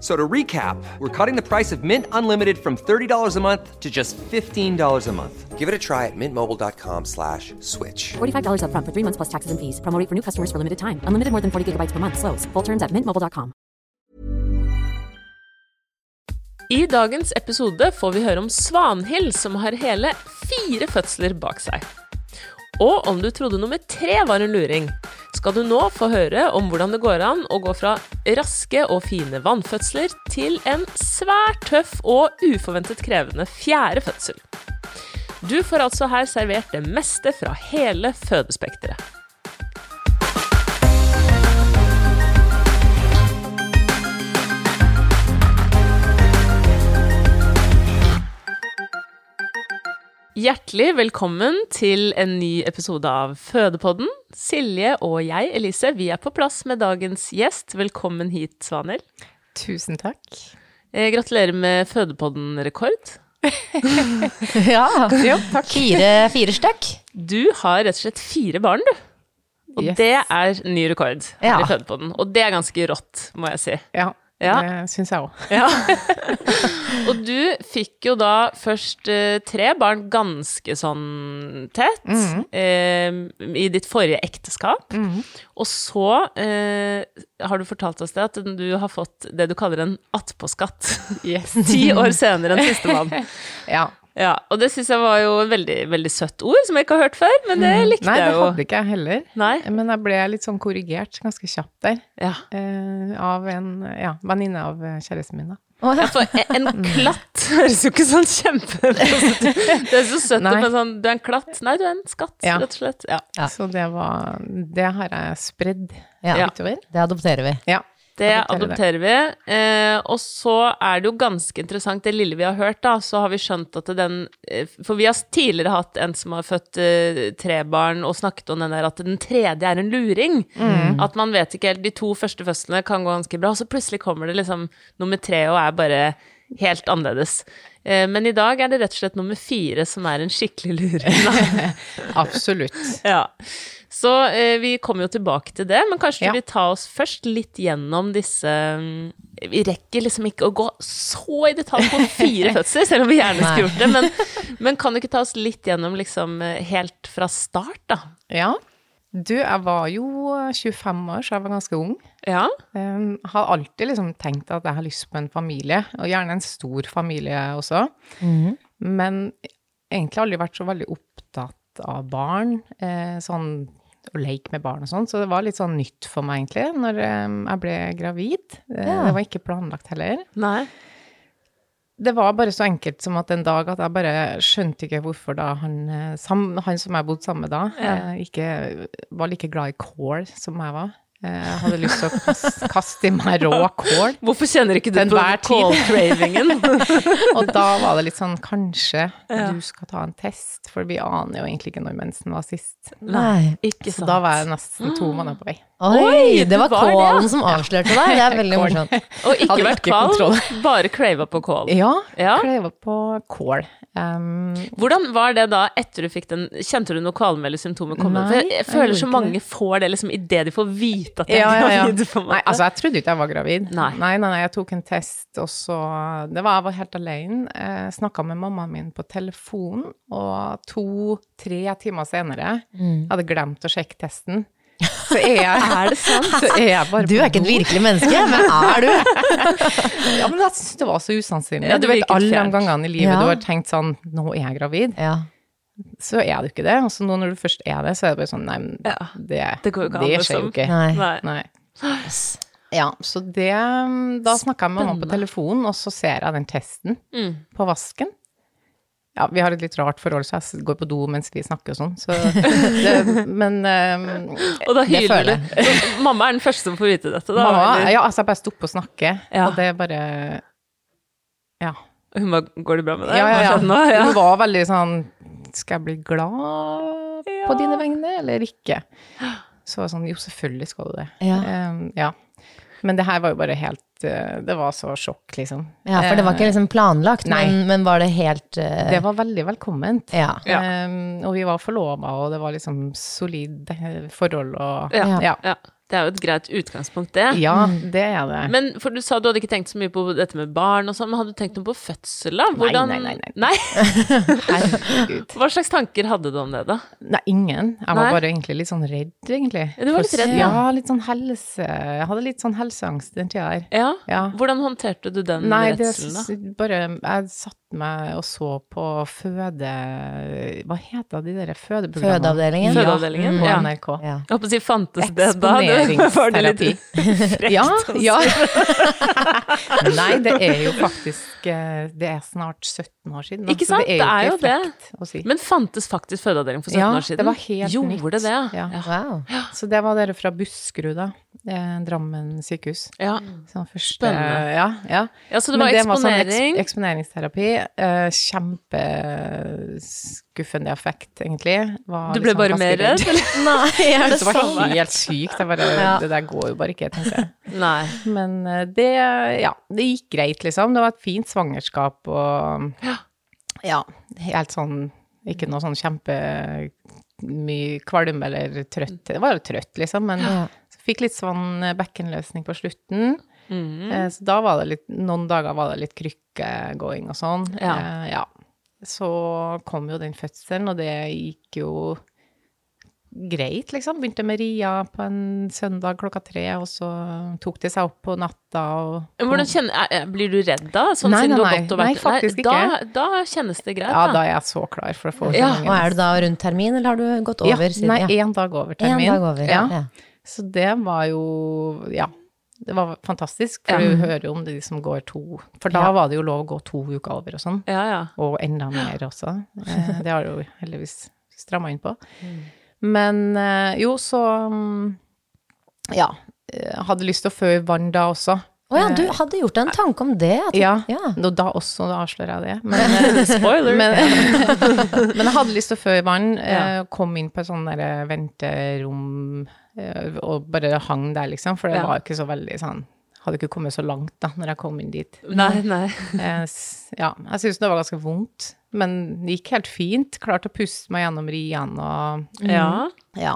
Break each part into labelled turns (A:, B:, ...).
A: So to recap, we're cutting the price of Mint Unlimited from $30 a month to just $15 a month. Give it a try at mintmobile.com slash switch.
B: $45 upfront for three months plus taxes and fees. Promo rate for new customers for limited time. Unlimited more than 40 gigabytes per month. Slows. Full terms at mintmobile.com.
C: I dagens episode får vi høre om Svanhild, som har hele fire fødsler bak seg. Og om du trodde nummer tre var en luring, skal du nå få høre om hvordan det går an å gå fra raske og fine vannfødsler til en svært tøff og uforventet krevende fjerde fødsel. Du får altså her servert det meste fra hele fødespekteret. Hjertelig velkommen til en ny episode av Fødepodden. Silje og jeg, Elise, vi er på plass med dagens gjest. Velkommen hit, Svanhild.
D: Tusen takk.
C: Eh, Gratulerer med Fødepodden-rekord.
D: Ja, jo, takk.
E: Fire, fire stykk.
C: Du har rett og slett fire barn, du. Og
D: Yes.
C: det er ny rekord her
E: Ja.
C: i Fødepodden. Og det er ganske rått, må jeg si.
D: Ja,
C: Ja.
D: det syns jeg òg.
C: Og du fikk jo da først eh, tre barn ganske sånn tett
D: Mhm.
C: eh, i ditt forrige ekteskap. Og så eh, har du fortalt oss det at du har fått det du kaller en attpåskatt.
D: Yes.
C: Ti år senere enn sistemann.
D: Ja.
C: Ja, og det syns jeg var jo et veldig, veldig søtt ord som jeg ikke har hørt før, men det likte
D: Mm. Nei, det
C: jeg jo.
D: hadde ikke jeg heller.
C: Nei.
D: Men jeg ble litt sånn korrigert ganske kjapt der
C: Ja.
D: eh, av en ja, venninne av eh, kjæresten min. da.
C: For en- en klatt høres jo ikke sånn kjempepositivt Det er så søtt,
D: Nei.
C: men sånn Du er en klatt. Nei, du er en skatt,
D: Ja.
C: rett og slett. Ja.
E: Ja.
D: Så det var Det har jeg spredd
E: Ja.
D: utover.
E: Det adopterer vi.
D: Ja.
C: Det
D: Adopterer
C: adopterer vi. Eh, og så er det jo ganske interessant, det lille vi har hørt, da, så har vi skjønt at den eh, For vi har tidligere hatt en som har født eh, tre barn, og snakket om den der at den tredje er en luring. At man vet ikke helt De to første fødslene kan gå ganske bra, og så plutselig kommer det liksom nummer tre og er bare helt annerledes. Eh, men i dag er det rett og slett nummer fire som er en skikkelig luring. Da.
D: Absolutt.
C: Ja. Så eh, vi kommer jo tilbake til det, men kanskje
D: Ja.
C: du vil ta oss først litt gjennom disse mm, Vi rekker liksom ikke å gå så i detalj på fire fødsler, selv om vi gjerne skulle gjort det, men, men kan du ikke ta oss litt gjennom liksom eh, helt fra start, da?
D: Ja. Du, jeg var jo 25 år, så jeg var ganske ung.
C: Ja.
D: Um, har alltid liksom tenkt at jeg har lyst på en familie, og gjerne en stor familie også. Men egentlig aldri vært så veldig opptatt av barn, eh, sånn å leke med barn og sånn. Så det var litt sånn nytt for meg egentlig, når eh, jeg ble gravid. Eh, Det var ikke planlagt heller.
C: Nei.
D: Det var bare så enkelt som at en dag at jeg bare skjønte ikke hvorfor da han, eh, sam, han som jeg bodde sammen med da, eh, ikke var like glad i kål som jeg var. Eh, Jeg hadde lyst til å kaste, kaste i meg rå kål.
C: Hvorfor kjenner ikke du
D: Den
C: på
D: hver tid.
C: call-cravingen?
D: Og da var det litt sånn, kanskje du skal ta en test, for vi aner jo egentlig ikke når mensen var sist.
E: Nei.
C: ikke
D: Så da var jeg nesten to måneder på vei.
E: Oi,
C: det
E: det var
C: var det, ja.
E: kålen som avslørte deg. Det er veldig morsomt.
C: Og ikke
D: Hadde
C: vært
D: ikke
C: kald,
D: kontroll.
C: bare crava på kål.
D: Ja,
C: Ja.
D: kleva på kål. Um,
C: Hvordan var det da etter du fikk den Kjente du noe kvalme eller symptomer komme?
D: Nei,
C: For jeg, jeg
D: jeg
C: føler
D: gjorde
C: så
D: ikke
C: mange får det liksom idet de får vite at de
D: ja, ja, ja.
C: er gravide. på en måte.
D: Nei, altså, jeg trodde ikke jeg var gravid.
C: Nei.
D: nei, nei, nei, jeg tok en test, og så det var, Jeg var helt alene. Snakka med mammaen min på telefon, og to-tre timer senere Jeg hadde glemt å sjekke testen. så er jeg,
E: Er det sant?
D: så er jeg bare
E: Du er ikke et virkelig menneske, men er du?
D: Ja, men jeg synes det var så usannsynlig.
C: Ja, det
D: du vet
C: virket
D: alle de
C: fjernt.
D: gangene i livet
E: Ja.
D: du har tenkt sånn Nå er jeg gravid.
E: Ja.
D: Så er du ikke det. Og så nå når du først er det, så er det bare sånn Nei, men
C: Ja,
D: det,
C: det går jo ikke an,
D: det skjer
C: liksom.
D: jo ikke.
E: Nei.
C: Nei.
D: Nei. Ja, så det mm, Da snakka jeg med mamma på telefonen, og så ser jeg den testen
C: Mm.
D: på vasken. Ja, vi har et litt rart forhold, så jeg går på do mens vi snakker og sånn, så det, Men eh,
C: Og da
E: Det
C: hyler
E: føler
C: du. Så Mamma er den første som får vite dette. Da,
D: mamma
C: eller?
D: Ja, altså, jeg bare stopper og snakker,
C: Ja.
D: og det er bare Ja.
C: Og Hun bare Går det bra med deg?
D: Ja, ja,
C: Hva
D: ja.
C: skjedde Nå, ja.
D: Hun var veldig sånn Skal jeg bli glad på
C: Ja.
D: dine vegne, eller ikke? Så var jeg sånn Jo, selvfølgelig skal du det.
E: Ja.
D: Ehm, ja. Men det her var jo bare helt eh, Det var så sjokk, liksom.
E: ja, for det var ikke liksom planlagt, men, men var det helt eh,
D: Det var veldig velkomment.
E: Ja.
C: Ja.
D: Ehm, og vi var forlova, og det var liksom solid eh, forhold og
C: Ja.
D: ja.
C: ja. Det er jo et greit utgangspunkt, det.
D: Ja, det er det.
C: Men for du sa du hadde ikke tenkt så mye på dette med barn og sånn, men hadde du tenkt noe på fødsel, da? Hvordan...
D: nei, nei,
C: Nei?
D: Herregud.
C: Hva slags tanker hadde du om det, da?
D: Nei, ingen. Jeg
C: Nei?
D: var bare egentlig litt sånn redd, egentlig.
C: Ja, du var litt
D: For-
C: redd, ja.
D: ja. Litt sånn helse Jeg hadde litt sånn helseangst den tida her.
C: Ja.
D: Ja.
C: Hvordan håndterte du den
D: Nei, det
C: redselen, da?
D: s- bare Jeg satte meg og så på føde... Hva heter de der fødeprogrammene?
E: Fødeavdelingen?
C: Fødeavdelingen,
D: Ja,
C: ja.
D: på NRK.
E: Ja.
C: Jeg håper å si fantes det da? Det- var det litt- altså.
D: Ja, ja. Nei, det er jo faktisk eh, Det er snart 17 år siden. da,
C: Ikke
D: så
C: sant? Det er jo det.
D: frekt Å si.
C: Men fantes faktisk fødeavdeling for 17
D: Ja,
C: år siden?
D: det var helt
C: Gjorde
D: nytt.
C: det det?
D: Ja.
C: Ja.
E: Wow.
D: Så det var dere fra Buskerud, da. Eh, Drammen sykehus.
C: ja.
D: Så den første,
C: Spennende.
D: Ja, ja.
C: Ja, så det
D: Men
C: var
D: sånn
C: eksponering.
D: eks eksponeringsterapi. Eh, kjempeskuffende effekt, egentlig. Var
C: Du ble
D: liksom
C: bare
D: ganske
C: mer redd? eller?
E: Nei, er det
D: Det var
E: sant?
D: helt sykt. Jeg bare, Det der går jo bare ikke, tenkte jeg.
C: Nei.
D: Men eh, det, ja, det gikk greit, liksom. Det var et fint svangerskap og ja, helt sånn Ikke noe sånn kjempemye kvalm eller trøtt. Det var jo trøtt, liksom, men
E: Ja.
D: så fikk litt sånn bekkenløsning på slutten.
C: Mm.
D: Eh, Så da var det litt Noen dager var det litt krykkegåing og sånn.
C: Ja.
D: Eh, ja. Så kom jo den fødselen, og det gikk jo greit, liksom. Begynte med Ria på en søndag klokka tre, og så tok det seg opp på natta og
C: Men Hvordan kjenner, er- er- blir du redd da? Sånn
D: Nei,
C: siden
D: nei,
C: du har
D: nei.
C: gått og vært
D: Nei, faktisk
C: da, da kjennes det greit, da.
D: Ja, da er jeg så klar for å få
C: Ja,
D: forsamlingen.
E: Og er du da rundt termin, eller har du gått
D: ja,
E: over siden?
D: Nei,
E: ja?
D: én dag over
E: En
D: termin.
E: dag over.
D: Ja.
E: Ja.
D: Så det var jo Ja. Det var fantastisk, for du hører jo om de som går to For da var det jo lov å gå to uker over og sånn.
C: Ja, ja.
D: Og enda mer også. Eh, Det har du jo heldigvis stramma inn på. Men eh, jo, så mm, Ja. eh, Hadde lyst til å fø i vann da også.
E: Å ja, du hadde gjort deg en tanke om det? At,
D: Eh, Ja.
E: ja.
D: Nå, da også da avslører jeg det. Men,
C: Spoiler.
D: men, men jeg hadde lyst til å fø i vann. eh, Kom inn på et sånt der eh, venterom eh, og bare hang der, liksom. For det
C: Ja.
D: var ikke så veldig sånn Hadde ikke kommet så langt da, når jeg kom inn dit.
C: Nei, nei.
D: Eh, s- ja, jeg synes det var ganske vondt, men det gikk helt fint. Klarte å puste meg gjennom Rian og
C: Ja.
D: ja.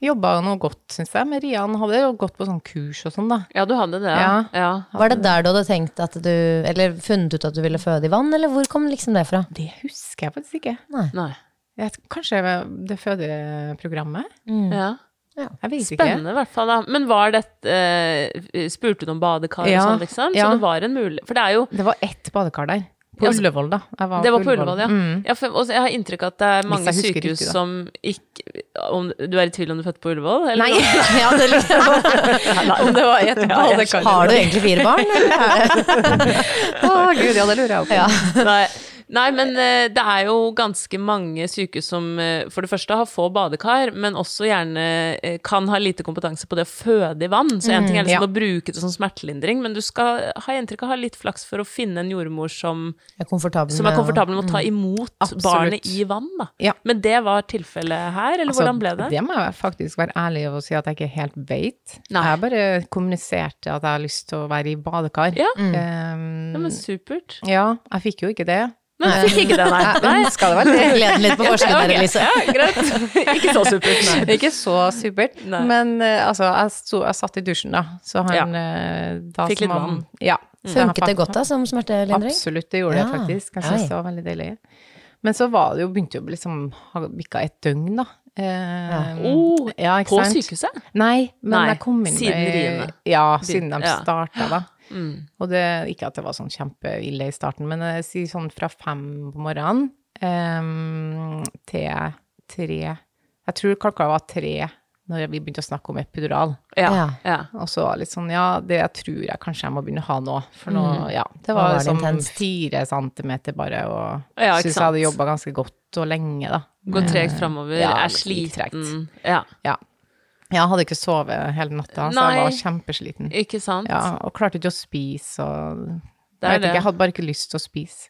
D: Jobba jo noe godt, synes jeg, med Rian. Hadde jo gått på sånn kurs og sånn, da.
C: ja, du hadde det.
D: Ja.
C: ja.
E: Var det der du hadde tenkt at du Eller funnet ut at du ville føde i vann, eller hvor kom liksom det fra?
D: Det husker jeg faktisk ikke.
C: Nei.
D: Jeg, vet- kanskje det fødeprogrammet?
C: Ja.
D: Jeg vet Mm. ikke.
C: Spennende, i hvert fall. da. Men var dette eh, Spurte du om badekar
D: Ja,
C: og sånn, liksom?
D: ja.
C: Så det var en mulig For det er jo
D: Det var ett badekar der. På
C: Ja, altså-
D: Ullevål, da. Jeg
C: det var på Ullevål, ja.
D: Mm.
C: ja for, og jeg har inntrykk av at det er mange
D: jeg husker
C: sykehus
D: riktig, da.
C: som ikke om, Du er i tvil om du er født på Ullevål? Eller
E: Nei!
C: noe?
E: ja, det liksom,
D: Om det var ett badekar.
E: har du egentlig fire barn? eller?
D: Å, gud, ja, det lurer jeg på.
E: Ja.
C: Nei. Nei, men eh, det er jo ganske mange sykehus som eh, for det første har få badekar, men også gjerne eh, kan ha lite kompetanse på det å føde i vann. Så en ting er liksom
D: Mm, ja.
C: å bruke det som smertelindring, men du skal ha inntrykk av å ha litt flaks for å finne en jordmor som,
E: Jeg er komfortabel
C: som er
E: med å-
C: komfortabel med å ta imot
D: Mm. Absolutt.
C: barnet i vann, da.
D: Ja.
C: Men det var tilfellet her, eller
D: Altså,
C: hvordan ble det?
D: Det må jeg faktisk være ærlig og si at jeg ikke helt vet.
C: Nei.
D: Jeg bare kommuniserte at jeg har lyst til å være i badekar.
C: Ja.
D: Ehm,
C: Ja, men supert.
D: ja, jeg fikk jo ikke det.
C: Men fikk ikke det, nei. nei.
D: Jeg skal det være det?
E: Gleder litt på forskjellen der,
C: Ok,
E: Elise.
C: Ja, greit. Ikke så supert, nei.
D: Ikke så supert,
C: Nei.
D: men eh, altså, jeg, sto, jeg satt i dusjen da, så han
C: Ja.
D: eh, da,
C: Fikk
D: som
C: litt
D: han-
C: vann. Mm.
D: Ja. Så han
E: Funket det
D: fakt-
E: godt da, som smertelindring?
D: Mm. Absolutt, det gjorde det
E: Ja.
D: faktisk. Jeg synes
E: Oi.
D: det var veldig deilig. Men så var det jo, begynte jo liksom, ha bikka et døgn, da. Eh,
C: Oh,
D: ja, ikke
C: på
D: sant?
C: sykehuset?
D: Nei, men
C: Nei,
D: jeg kom inn
C: siden
D: med-
C: riene.
D: Ja, siden de
C: Ja. Mm.
D: starta, da. Og det, ikke at det var sånn kjempeille i starten, men jeg sier sånn fra fem på morgenen eh, til tre Jeg tror klokka var tre når vi begynte å snakke om epidural.
C: Ja.
E: Ja.
C: ja.
D: Og så var det litt sånn, ja, det tror jeg kanskje jeg må begynne å ha nå. For nå,
C: Mm.
D: ja, det
E: var
D: var,
E: det
D: liksom
E: intenst.
D: fire centimeter bare, og
C: Ja, ikke
D: synes jeg
C: sant.
D: hadde jobbet ganske godt og lenge da.
C: Gå tregt framover,
D: Ja,
C: er
D: det gikk tregt.
C: sliten. Ja,
D: Ja. Jeg hadde ikke sovet hele natta, så
C: Nei.
D: jeg var kjempesliten.
C: ikke sant?
D: Ja, og klarte ikke å spise, og
C: Det er
D: jeg vet
C: det.
D: ikke, jeg hadde bare ikke lyst til å spise.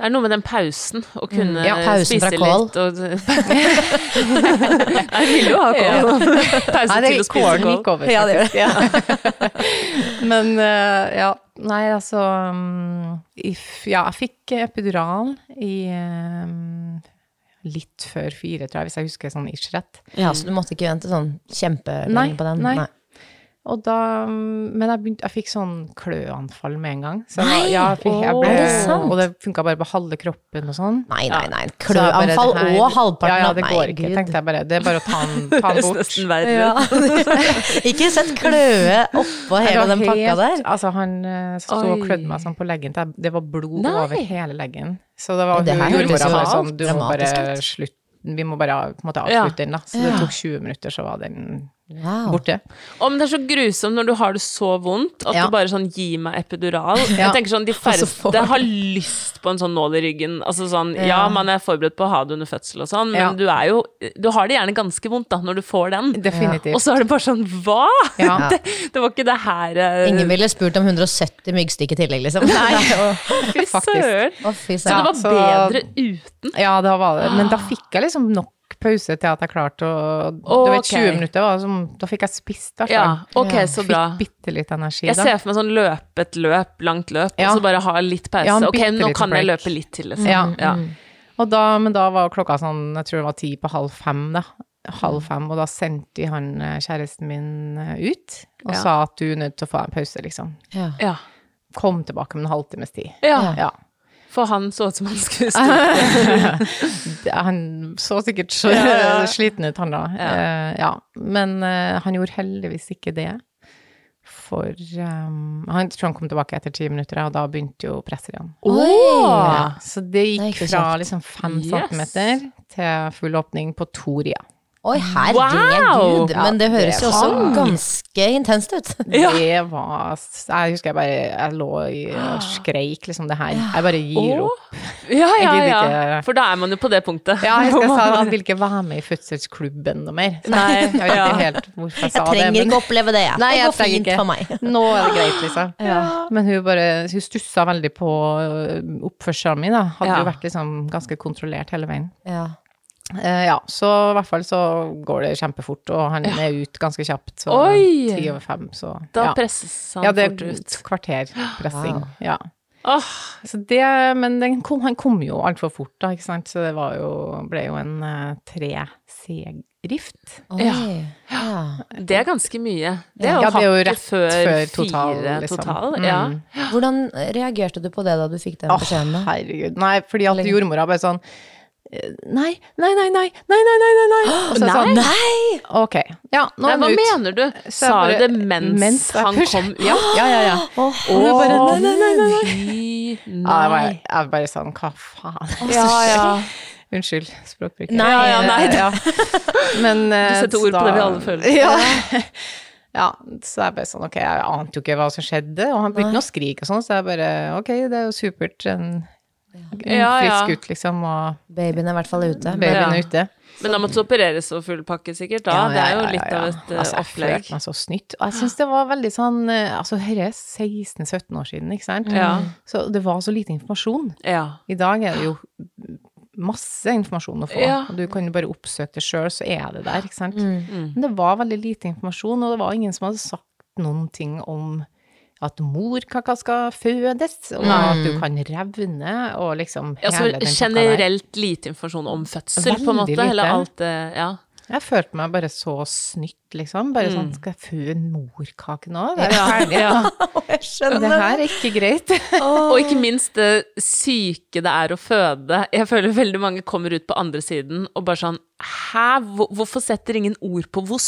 C: Det er noe med den pausen, å kunne
E: Ja, pausen
C: spise
E: fra kål.
C: litt og Jeg vil jo ha kål. Pause
D: Nei, det
C: til å spise
D: kålen
C: kål.
D: gikk over. Ja, det gjør det. Men, eh, ja, nei, altså, mm, if, ja, jeg fikk epidural i... eh, Litt før fire, tror jeg, hvis jeg husker sånn ish rett.
E: Ja, så du måtte ikke vente sånn
D: Nei,
E: kjempelenge på den?
D: nei. Og da, mm, men jeg, begynte, jeg fikk sånn kløanfall med en gang. Så jeg var-
E: Nei!
D: ja, jeg fikk, jeg
C: Åh!
D: ble,
C: Er
E: det sant?
D: Og det funka bare på halve kroppen og sånn.
E: Nei, nei, nei.
D: Så jeg bare,
E: Kløanfall
D: det her-
E: og halvparten
D: ja, ja,
E: av
D: det
E: Nei,
D: går ikke.
E: Gud.
D: tenkte jeg bare. Det er bare å ta den, ta den
C: Høres
D: bort.
C: nesten verre ut.
E: Ja. ikke sett kløe oppå
D: Jeg
E: hele
D: var
E: den pakka
D: helt-
E: der.
D: Altså, han eh, sto og
C: Oi.
D: klødde meg sånn på leggen. til jeg- Det var blod
C: Nei.
D: over hele leggen. Så det var
E: Det her
D: hun
E: høres
D: gjorde bare
E: jo
D: sånn Du må
E: dramatisk
D: bare
E: ut.
D: slutte. Vi må bare på en måte
C: Ja.
D: avslutte den, da. Så det tok 20 minutter, så var den
E: Wow.
D: borte.
C: Om det er så grusomt når du har det så vondt at
E: Ja.
C: du bare sånn Gi meg epidural. Jeg
D: Ja. Altså,
C: tenker sånn De
E: får
C: færreste
E: du-
C: har lyst på en sånn nål i ryggen. Altså sånn Ja, man er forberedt på å ha det under fødsel og sånn, men
D: Ja.
C: du er jo Du har det gjerne ganske vondt da når du får den.
D: Definitivt.
C: Og så er det bare sånn Hva?!
D: Ja.
C: Det, det var ikke det her eh,
E: Ingen ville spurt om 170 myggstikk i tillegg, liksom. Nei.
C: Fy
D: Faktisk.
C: søren!
E: Å, fy
C: Så det
E: søren.
C: var
D: så-
C: bedre uten.
D: Ja, det var det. Men da fikk jeg liksom nok pause til at jeg klarte å Du vet,
C: Ok.
D: 20 minutter var som Da fikk jeg spist, i hvert
C: Ja,
D: fall.
C: ok, så bra.
D: Fikk bitte litt energi,
C: Jeg
D: da.
C: ser for meg sånn løpet løp, langt løp,
D: Ja.
C: og så bare ha litt pause.
D: Ja, en
C: ok,
D: bitte
C: nå
D: liten
C: kan jeg
D: break.
C: løpe litt til, liksom.
D: Ja. Mm. Og da, men da var klokka sånn, jeg tror det var ti på halv fem, da. Halv fem, og da sendte de han eh, kjæresten min eh, ut og
C: Ja.
D: sa at du er nødt til å få en pause, liksom.
E: Ja.
C: Ja.
D: Kom tilbake om en halvtimes tid.
C: ja.
D: Ja.
C: For han så ut som han skulle stå.
D: Det- Han så sikkert så sliten ut, han da. Eh, ja. Men eh, han gjorde heldigvis ikke det. For ehm, Han tror han kom tilbake etter ti minutter, og da begynte jo presset igjen.
E: Oi!
D: Ja, så det
E: Det
D: gikk
E: gikk jo
D: fra
E: kjapt.
D: liksom fem
C: Yes.
D: centimeter til full åpning på to rier.
E: Oi,
C: Wow!
E: herregud. Men det høres jo også ganske intenst ut.
C: Ja.
D: Det var Jeg husker jeg bare Jeg lå i og skreik liksom det her. Jeg bare gir opp.
C: Ja, ja,
D: Jeg
C: ja.
D: gidder ikke.
C: For da er man jo på det punktet.
D: Ja, jeg husker jeg sa at jeg vil ikke være med i fødselsklubben noe mer. Så
C: Nei,
D: jeg vet
C: ja.
D: ikke helt hvorfor jeg sa
E: Jeg
D: det.
E: trenger ikke oppleve det, jeg.
D: Nei,
E: Det
D: jeg
E: går
D: trenger
E: fint
D: ikke.
E: for meg.
D: Nå er det greit, liksom. Men hun bare Hun stussa veldig på ø, oppførselen min, da. Hadde
C: Ja.
D: jo vært liksom ganske kontrollert hele veien.
E: Ja.
D: Eh, ja, så i hvert fall så går det kjempefort, og han er ut ganske kjapt. Så
C: Oi!
D: ti over fem, så
C: Da
D: ja.
C: presses han
D: ja, det er
C: fort
D: et
C: ut.
D: kvarter pressing. Ja.
C: Åh,
D: Så det, men den kom, han kom jo altfor fort, da, ikke sant. Så det var jo, ble jo en eh, tre-C-rift.
E: Oi. Ja.
C: det er ganske mye. Det er jo,
D: Ja, det er jo
C: hakket
D: rett før total,
C: fire
D: liksom.
C: total.
D: Mm.
C: Ja.
E: Hvordan reagerte du på det da du fikk den
D: Åh,
E: beskjeden? da?
D: herregud. Nei, fordi at jordmora bare sånn eh, Nei, nei, nei, nei, nei, nei, nei, nei, nei. Og så er jeg sånn,
E: Nei!
D: ok, ja, nå
C: Nei,
D: er
C: hva
D: han ut.
C: mener du?
D: Så jeg
C: Sa hun
D: bare-
C: det mens,
D: jeg
C: han
D: pusher-
C: kom ut? Ja,
D: Ja, ja, ja.
E: Åh,
D: Og jeg bare, nei, nei, nei, nei.
C: Fy,
D: Ja, jeg
C: nei.
D: bare, jeg bare sånn, hva faen?
C: Ja, ja.
D: Unnskyld språkbruken.
E: Nei,
C: Ja, ja, nei, det-
D: Ja. Men, eh,
C: Du setter ord på det vi alle føler.
D: Ja. ja, så jeg bare sånn, ok, jeg ante jo ikke hva som skjedde, og han begynte å skrike og sånn, så jeg bare, ok, det er jo supert, en, en
C: Ja, ja.
D: frisk gutt liksom, og
E: Babyen er i hvert fall ute. men-
D: babyen
C: Ja.
D: er ute.
C: Men da måtte du opereres og full pakke, sikkert. da.
D: Ja,
C: Det er
D: ja,
C: jo
D: ja,
C: litt
D: ja.
C: av et eh,
D: altså, Jeg
C: opplegg.
D: følte meg så snytt. Og jeg syns det var veldig sånn eh, Altså, dette er 16-17 år siden, ikke sant?
C: Ja.
D: Så det var så lite informasjon.
C: Ja.
D: I dag er det jo masse informasjon å få.
C: Ja. Mm.
D: Og du kan jo bare oppsøke det sjøl, så er det der, ikke sant? Men det var veldig lite informasjon, og det var ingen som hadde sagt noen ting om at morkaka skal fødes, og at du kan revne, og liksom
C: Mm. Ja, så
D: hele den pakka der.
C: generelt lite informasjon om fødsel, på en
D: Veldig
C: måte. Eller
D: lite.
C: alt det Ja.
D: Jeg følte meg bare så snytt liksom. Bare sånn Skal jeg fø en morkake nå? Det er jo
C: Mm. Ja,
D: ferdig.
C: ja.
E: Jeg skjønner
D: Det her er ikke greit.
C: Og ikke minst det syke det er å føde. Jeg føler veldig mange kommer ut på andre siden og bare sånn Hæ? Hvor- Hvorfor setter ingen ord på hvor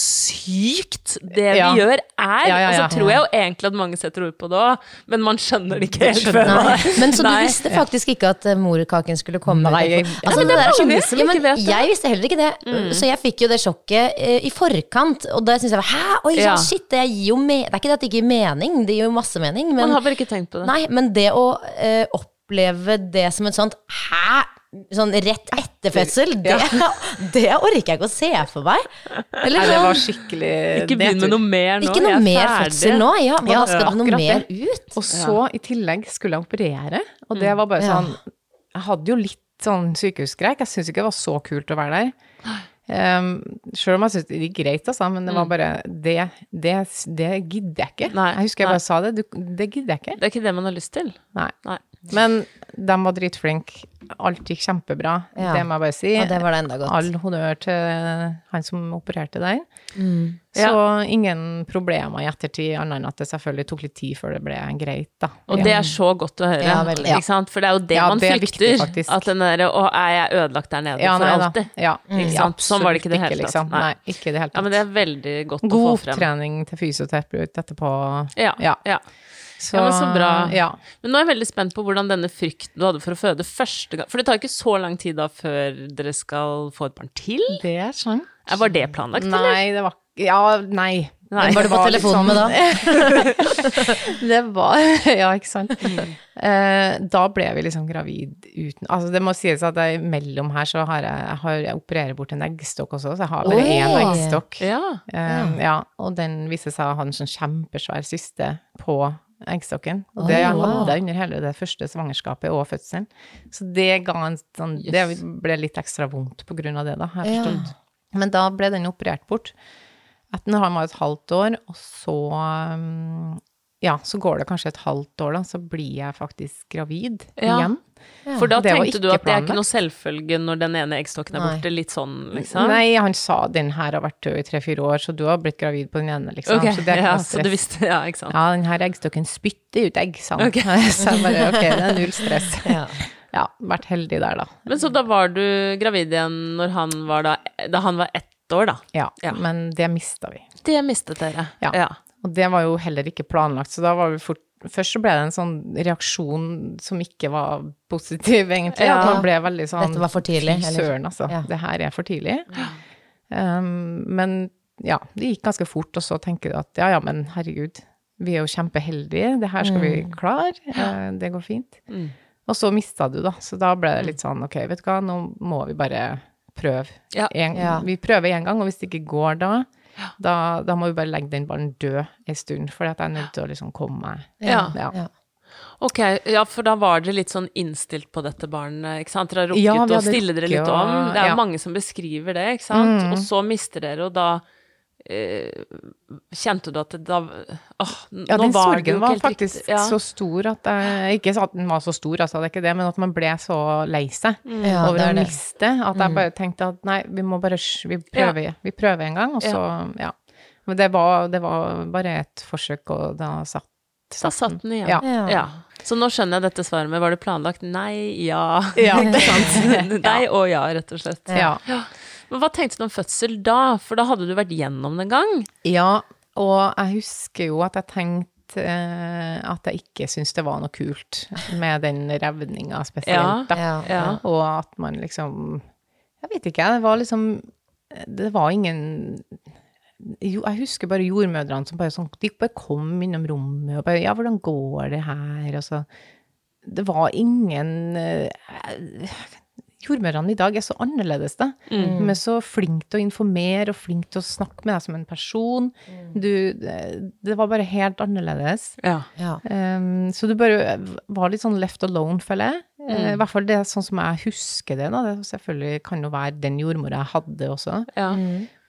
C: sykt det
D: Ja.
C: vi gjør, er?
D: Ja, ja, ja.
C: Og så tror jeg jo egentlig at mange setter ord på det òg, men man skjønner det ikke helt. før man-
E: Nei. Men så du
C: Nei.
E: visste faktisk ikke at eh, morkaken skulle komme?
D: Nei, jeg-
E: altså,
C: men
E: det
C: det er
E: der er så-
C: mange som
E: ja, men
C: ikke vet det. Mm.
E: Jeg visste heller ikke det, så jeg fikk jo det sjokket eh, i forkant. Og da syntes jeg hæ, oi, ja.
C: Ja.
E: shit, det gir jo me Det er ikke det at det ikke gir mening, det gir jo masse mening.
C: Man
E: Men,
C: har bare ikke tenkt på det.
E: nei, men det å eh, oppleve det som et sånt hæ, sånn rett etter fødsel, det, det orker jeg ikke å se for meg. Eller
D: Nei, det
E: sånn,
D: var skikkelig
C: Ikke begynn med
D: nedtur.
C: noe mer nå.
E: ikke
C: jeg
E: noe
C: er
E: mer
C: ferdig.
E: fødsel nå. Ja, hva
D: Ja,
E: skal det noe
D: akkurat
E: mer
D: det.
E: ut?
D: Og så i tillegg skulle jeg operere, og
C: Mm.
D: det var bare
E: Ja.
D: sånn Jeg hadde jo litt sånn sykehusskrekk. Jeg syntes ikke det var så kult å være der. Um, Sjøl om jeg syntes det gikk greit, altså, men det var bare Det, det, det gidder jeg ikke.
C: Mm. Nei,
D: jeg husker jeg
C: nei.
D: bare sa det. Du, det gidder jeg ikke.
C: Det er ikke det man har lyst til.
D: Nei.
C: Nei.
D: Men de var dritflinke. Alt gikk kjempebra.
E: Ja.
D: Det må jeg bare si.
E: Og det var det enda godt.
D: All honnør til han som opererte der.
C: Mm.
D: Så ingen problemer i ettertid, annet enn at det selvfølgelig tok litt tid før det ble greit, da.
C: Og det er så godt å høre.
E: Ja, veldig.
C: ikke sant? For det er jo det
D: Ja,
C: man
D: det er
C: frykter.
D: viktig, faktisk.
C: at den derre Å, er jeg ødelagt der nede for
D: da.
C: alltid?
D: Ja,
C: Ikke sant? Sånn var det ikke i det
D: absolutt
C: hele tatt.
D: liksom.
C: Nei.
D: Nei. ikke i det hele
C: Ja,
D: tatt.
C: men det er veldig godt å
D: God
C: få frem.
D: trening til fysioterapeut etterpå.
C: Ja, ja. ja.
D: Så,
C: men så bra.
D: Ja.
C: Men nå er jeg veldig spent på hvordan denne frykten du hadde for å føde første gang For det tar ikke så lang tid da før dere skal få et barn til?
D: Det er sant.
C: Er- Var det planlagt, eller?
D: Nei, det var Ja, nei.
C: Nei.
D: Det
E: Var du på
D: litt
E: telefonen med
D: sånn-
E: da?
D: Det var Ja, ikke sant. Eh, da ble vi liksom gravid uten Altså, det må sies at jeg, mellom her så har jeg, jeg, har, jeg opererer bort en eggstokk også, så jeg har bare én
E: Åh.
D: eggstokk.
C: Ja.
D: Eh, ja, og den viser seg å ha en sånn kjempesvær syste på eggstokken. Og det
E: Oi, wow.
D: hadde jeg under hele det første svangerskapet og fødselen. Så det ga en sånn Det ble litt ekstra vondt på grunn av det, da, har jeg
E: Ja.
D: forstått. Men da ble den operert bort. Etter når han var et halvt år, og så um, Ja, så går det kanskje et halvt år, da, så blir jeg faktisk gravid
C: Ja.
D: igjen.
C: For da
D: Det var
C: tenkte du at
D: ikke
C: det er
D: planlagt.
C: ikke noe selvfølge når den ene eggstokken er
E: Nei.
C: borte, litt sånn, liksom?
D: Nei, han sa den her har vært død i tre-fire år, så du har blitt gravid på den ene, liksom.
C: Ok,
D: Så det er ikke
C: ja,
D: noe
C: så
D: stress.
C: du visste Ja, ikke sant.
D: Ja, den her eggstokken spytter ut egg, sa han. så jeg bare, ok, det er null stress.
E: Ja.
D: Ja, vært heldig der da.
C: Men så da var du gravid igjen når han var da Da han var ett år, da.
D: Ja,
C: Ja.
D: men det mistet vi.
C: Det mistet dere.
D: Ja. Og det var jo heller ikke planlagt, så da var vi fort... Først så ble det en sånn reaksjon som ikke var positiv, egentlig.
C: Ja.
D: At man ble veldig sånn...
E: Dette var for tidlig,
D: Fy
E: eller?
D: søren, altså.
E: Ja.
D: Det her er for tidlig. Um, men ja, det gikk ganske fort, og så tenker du at ja, ja, men herregud, vi er jo kjempeheldige, det her skal vi
E: Mm.
D: klare, eh, det går fint. Og så mista du, da. Så da
E: Mm.
D: ble det litt sånn, ok, vet du hva, nå må vi bare prøve.
C: Ja.
D: En,
E: Ja.
D: Vi prøver én gang, og hvis det ikke går da, da, da må vi bare legge den ballen død en stund, for jeg er nødt til å liksom komme meg
C: Ja.
E: Ja.
C: Ok, ja, for da var dere litt sånn innstilt på dette barnet, ikke sant? Dere har rukket
D: Ja, vi
C: å
D: hadde
C: stille dere litt
D: rukket
C: om.
D: å-
C: Det er
D: ja. Mm.
C: mange som beskriver det, ikke sant? Og så mister dere, og da eh, kjente du at det da Åh, n-
D: Ja,
C: nå
D: den
C: var det jo
D: sorgen
C: ikke
D: var
C: helt
D: faktisk
C: riktig. Ja.
D: så stor at jeg, Ikke at den var så stor, altså, det er ikke det, men at man ble så lei seg
E: Ja,
D: over
E: det
D: å
E: er det.
D: miste at jeg bare tenkte at nei, vi må bare sj- vi prøver, vi prøver en gang, og så ja. Men det var, det var bare et forsøk, og da satt
C: Da satt den igjen.
D: Ja.
C: Ja. Så nå skjønner jeg dette svaret med var det planlagt? Nei, ja.
D: Ja.
C: Ikke sant? Nei og ja, rett og slett.
D: Ja.
C: Men hva tenkte du om fødsel da? For da hadde du vært gjennom det en gang.
D: Ja, og jeg husker jo at jeg tenkte eh, at jeg ikke syntes det var noe kult med den revninga
C: Ja,
D: spesielt, da.
E: ja,
C: ja.
D: Og at man liksom Jeg vet ikke, det var liksom Det var ingen jo, jeg husker bare jordmødrene som bare, sånn, de bare kom innom rommet og bare Ja, hvordan går det her? Og så Det var ingen eh, jordmødrene i dag er så annerledes, da. De er så flinke til å informere og flinke til å snakke med deg som en person. Du, det- det var bare helt annerledes.
C: Ja.
E: Ja.
D: Um, så du bare var litt sånn left alone, føler jeg. Eh, I hvert fall det er sånn som jeg husker det. da. Det er selvfølgelig kan jo være den jordmora jeg hadde også.
C: ja.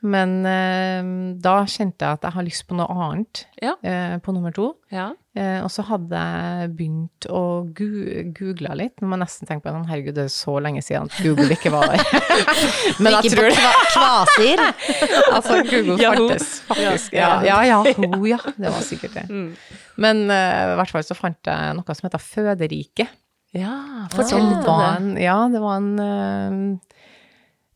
D: Men eh, da kjente jeg at jeg har lyst på noe annet
C: Ja.
D: eh, på nummer to.
C: Ja.
D: Eh, og så hadde jeg begynt å gu google litt. Nå må jeg nesten tenke på det, Sånn, herregud, det er så lenge siden at Google ikke var der. Men jeg
E: Ikke
D: tror
E: på
D: det.
E: kva- kvaser.
D: Altså, Google
C: Yahoo.
D: fantes faktisk. Ja, ja, Mm. Yahoo, ja. Det var sikkert det. Men eh, i hvert fall så fant jeg noe som heter Føderiket.
C: ja fortell
D: Som
C: litt om
D: var
C: det.
D: en, ja, det var en øhm,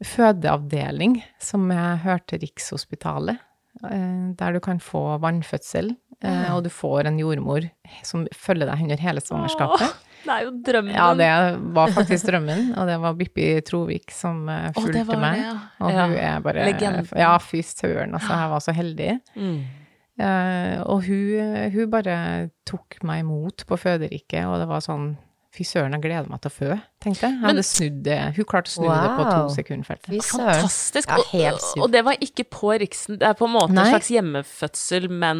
D: fødeavdeling som jeg hørte Rikshospitalet, eh, der du kan få vannfødsel, eh, og du får en jordmor som følger deg under hele svangerskapet.
C: Det er jo drømmen.
D: Ja, det var faktisk drømmen, og det var Bippi Trovik som eh,
C: Å, det
D: fulgte
C: var det,
D: meg.
C: ja.
D: Og
C: Ja.
D: hun er bare
C: Legenden.
D: Ja, fy søren, altså, jeg var så heldig.
C: Mm.
D: Eh, og hun, hun bare tok meg imot på føderiket, og det var sånn Fy søren, jeg gleder meg til å fø, tenkte jeg. Jeg hadde snudd det. Hun klarte å snu det på
E: Wow.
D: to sekunder, følte jeg.
E: Fy søren.
C: Fantastisk.
E: Ja, helt
C: og,
E: sykt.
C: og det var ikke på Riksen. Det er på en måte
D: Nei.
C: en slags hjemmefødsel, men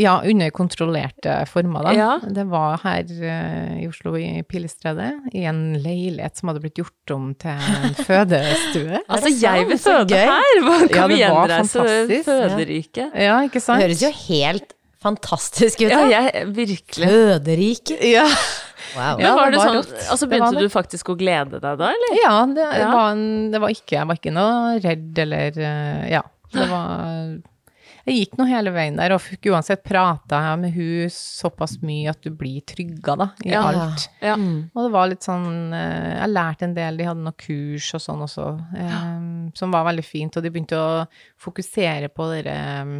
D: Ja, under kontrollerte former, da.
C: Ja.
D: Det var her eh, i Oslo, i Pilestredet, i en leilighet som hadde blitt gjort om til en fødestue.
C: Altså, jeg vil
E: sant? Så
C: føde
E: gøy.
C: her! Hva
D: Ja,
C: kan vi
D: det var
C: gjenreise
D: fantastisk.
C: føderiket?
D: Ja, ikke
E: Det
D: sant?
E: høres jo helt fantastisk ut.
C: Ja,
E: da.
C: jeg virkelig.
E: Føderike.
D: Ja.
E: Wow.
C: Men
D: Ja,
C: var
D: det
C: det
D: var
C: sånn,
D: rått.
C: altså
D: Det var
C: Begynte du faktisk å glede deg da, eller?
D: Ja, det,
C: Ja.
D: Var en, det var ikke Jeg var ikke noe redd eller eh, Ja. Det var Jeg gikk nå hele veien der og fikk uansett prata jeg med hun såpass mye at du blir trygga, da, i
C: Ja.
D: alt.
C: Ja.
E: Mm.
D: Og det var litt sånn eh, Jeg lærte en del, de hadde noen kurs og sånn også, eh, som var veldig fint, og de begynte å fokusere på dere eh,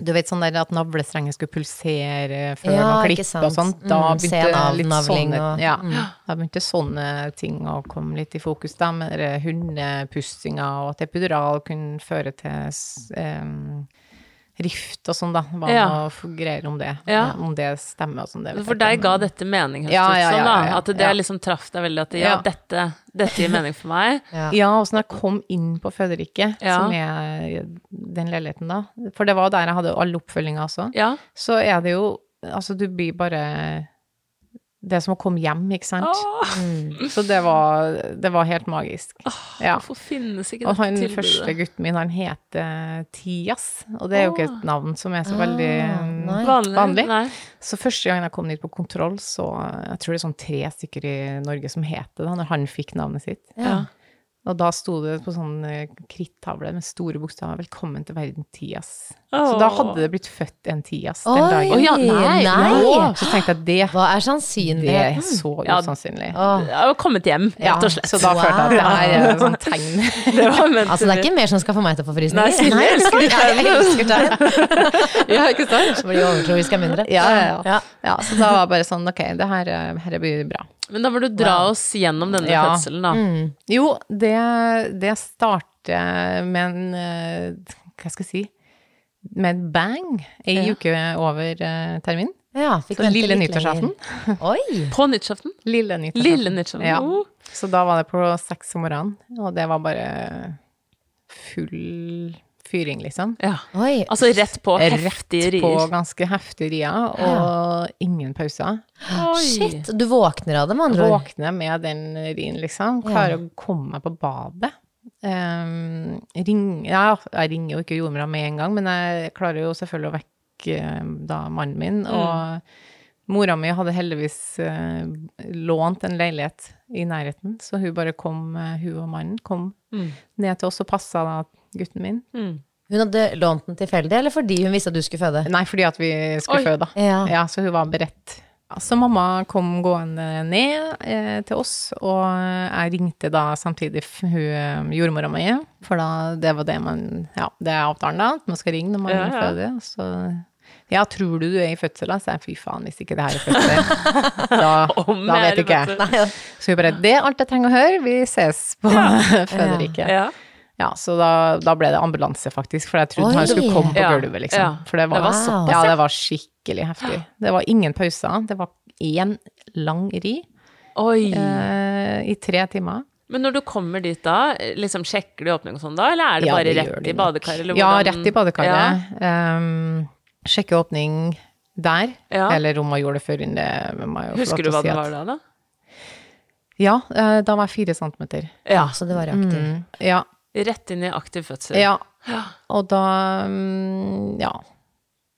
D: du vet sånn der at navlestrengen skulle pulsere før
E: Ja,
D: man
E: ikke
D: klipper og sånt.
E: sant.
D: Da
E: Mm,
D: begynte
E: sen
D: litt
E: avnavling
D: sånne,
E: og- Mm.
D: ja, da begynte sånne ting å komme litt i fokus. Da med dere hundepustinga og at epidural kunne føre til s- em, rift og sånn, da. Hva
C: Ja.
D: noe f- greier om det.
C: Ja.
D: Om det stemmer og sånn. det vet
C: For
D: jeg
C: deg
D: ikke,
C: ga
D: men-
C: dette mening, høres det
D: Ja,
C: ut
D: ja,
C: som,
D: ja,
C: da.
D: ja, ja.
C: At det
D: Ja.
C: liksom traff deg veldig, at ja,
D: Ja.
C: dette, dette gir mening for meg.
D: Ja, og så når jeg kom inn på føderiket,
C: Ja.
D: som er den leiligheten da, for det var jo der jeg hadde all oppfølginga også,
C: Ja.
D: så er det jo Altså, du blir bare Det er som å komme hjem, ikke sant? Mm.
C: Åh,
D: Så det var, det var helt magisk. ja.
C: hvorfor finnes ikke
D: Og
C: dette
D: han første
C: tilbudet?
D: gutten min, han heter Tias, og det er jo ikke et navn som er så veldig um,
E: nei.
C: Vanlig?
D: vanlig.
C: Ah, Nei.
D: Så første gang jeg kom dit på kontroll, så jeg tror det er sånn tre stykker i Norge som het det da, når han fikk navnet sitt.
E: Ja.
D: Og da sto det på sånn eh, krittavle med store bokstaver 'Velkommen til verden, Tias'. Så da hadde det blitt født en Tias den
E: Oi,
D: dagen.
C: Å ja, nei,
E: nei.
D: Så tenkte jeg det,
E: Hva er
D: det
E: sannsynligheten?
D: er så
C: Ja.
D: usannsynlig.
E: Åh,
C: Jeg har kommet hjem, rett og slett.
D: Så da følte jeg at det her er
C: sånn
D: sånn- et sånt tegn.
C: Det var ment
E: Altså, det er ikke mer som skal få meg til å få frysninger.
C: Nei, Silje elsker
E: jeg elsker tegn.
D: ja, ikke sant?
E: Så blir de overtroiske av mindre.
D: Ja, ja, ja.
E: Ja.
D: ja, så da var jeg bare sånn, ok, det her, eh, her blir bra.
C: Men da må du dra oss gjennom denne
D: Ja. Mm.
C: fødselen, da.
D: Jo, det, det starter med en eh, Hva skal jeg si? Med en bang ei
C: Ja.
D: uke over eh, termin.
E: Ja, fikk
D: Så
E: vente
D: lille
E: litt
D: nyttårsaften.
E: lenger. Oi!
C: På nyttårsaften.
D: Lille nyttårsaften.
C: Lille nyttårsaften.
D: Ja.
C: Oh.
D: Så da var det på seks om morgenen, og det var bare full fyring, liksom.
C: Ja.
E: Oi.
C: Altså rett på heftige
D: På
C: rier.
D: ganske heftige rier, og ingen pauser.
C: Oi.
E: Shit, du våkner av det, med andre ord.
D: Våkne med den rien, liksom. Klare å komme meg på badet. Ehm, ring, ja, jeg ringer jo ikke jordmora med en gang, men jeg klarer jo selvfølgelig å vekke eh, da mannen min. Og mora mi hadde heldigvis eh, lånt en leilighet i nærheten, så hun bare kom, eh, hun og mannen kom ned til oss og passa da gutten min.
E: Hun hadde lånt den tilfeldig, eller fordi hun visste at du skulle føde?
D: Nei, fordi at vi skulle
C: Oi.
D: føde, da.
E: Ja.
D: så hun var beredt. Så mamma kom gående ned eh, til oss, og jeg ringte da samtidig f- hun eh, jordmora mi, for da det var det man Ja, det er avtalen, da, at man skal ringe når man
C: Ja, ja.
D: føder. og Så ja, tror du du er i fødsel, da? Så jeg fy faen, hvis ikke det her er fødsel, da,
C: Om
D: da
C: jeg er i
D: vet ikke
C: fødsel.
D: jeg. Så hun bare Det er alt jeg trenger å høre, vi ses på føderiket.
C: Ja.
D: Ja, så da, da ble det ambulanse, faktisk, for jeg trodde
E: Oi.
D: han skulle komme på
C: Ja,
D: gulvet, liksom.
C: ja.
D: For det var,
C: Det var
E: såpass,
D: ja, det var skikkelig heftig. Det var ingen pauser. Det var én lang ri
C: Oi.
D: eh, i tre timer.
C: Men når du kommer dit da, liksom sjekker du åpning og sånn da, eller er det
D: Ja,
C: bare
D: det gjør
C: rett
D: de
C: i
D: nok.
C: badekar? Eller
D: Ja,
C: hvordan-
D: rett i badekaret. Um, sjekke åpning der,
C: Ja.
D: eller om man gjorde det før inn det må
C: Ja.
D: jeg jo få lov
C: Husker du
D: til å
C: hva
D: si
C: det
D: at-
C: var da, da?
D: Ja, eh, da var jeg fire centimeter.
C: Ja.
E: Så det var aktiv.
D: Ja,
C: Rett inn i aktiv fødsel.
D: ja Og da mm, Ja.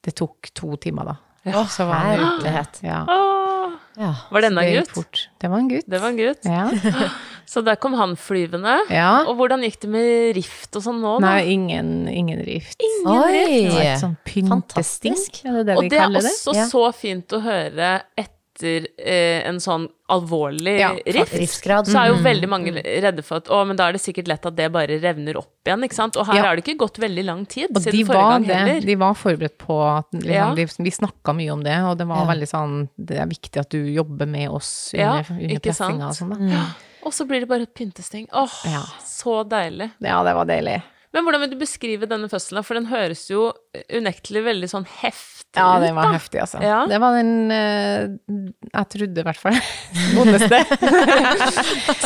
D: Det tok to timer, da.
E: Å,
D: Så var han ute.
E: herlighet.
D: Ja.
C: Åh,
E: Ja.
C: var denne
D: Det
C: en
D: gikk
C: gutt?
D: fort. Det var en gutt.
C: Det var en gutt.
D: Ja.
C: Så der kom han flyvende.
D: Ja.
C: Og hvordan gikk det med rift og sånn nå, da?
D: Nei, ingen, ingen rift. Det var
E: Oi!
D: et sånn pyntestikk,
E: Fantastisk.
D: er det det
C: og
D: vi
C: det er
D: kaller det?
C: også
E: Ja.
C: så fint å høre etter eh, en sånn alvorlig
D: Ja, Mm-hmm.
C: rift.
E: Riftgrad.
C: Så er jo veldig mange redde for at å, men da er det sikkert lett at det bare revner opp igjen, ikke sant. Og her
D: Ja.
C: har det ikke gått veldig lang tid
D: Og de
C: siden forrige
D: var,
C: gang
D: det,
C: heller.
D: de var forberedt på at liksom,
C: Ja.
D: de, Vi snakka mye om det, og det var
E: Ja.
D: veldig sånn Det er viktig at du jobber med oss
C: Ja,
D: under, under
C: ikke sant?
D: pressinga og sånn, da.
C: Og så blir det bare et pyntesting. Åh,
D: Ja.
C: så deilig.
D: Ja, det var deilig.
C: Men hvordan vil du beskrive denne fødselen? For den høres jo unektelig veldig sånn heftig
D: Ja,
C: ut,
D: den var
C: da.
D: heftig, altså.
C: Ja.
D: Det var den eh, Jeg trodde i hvert fall vondeste.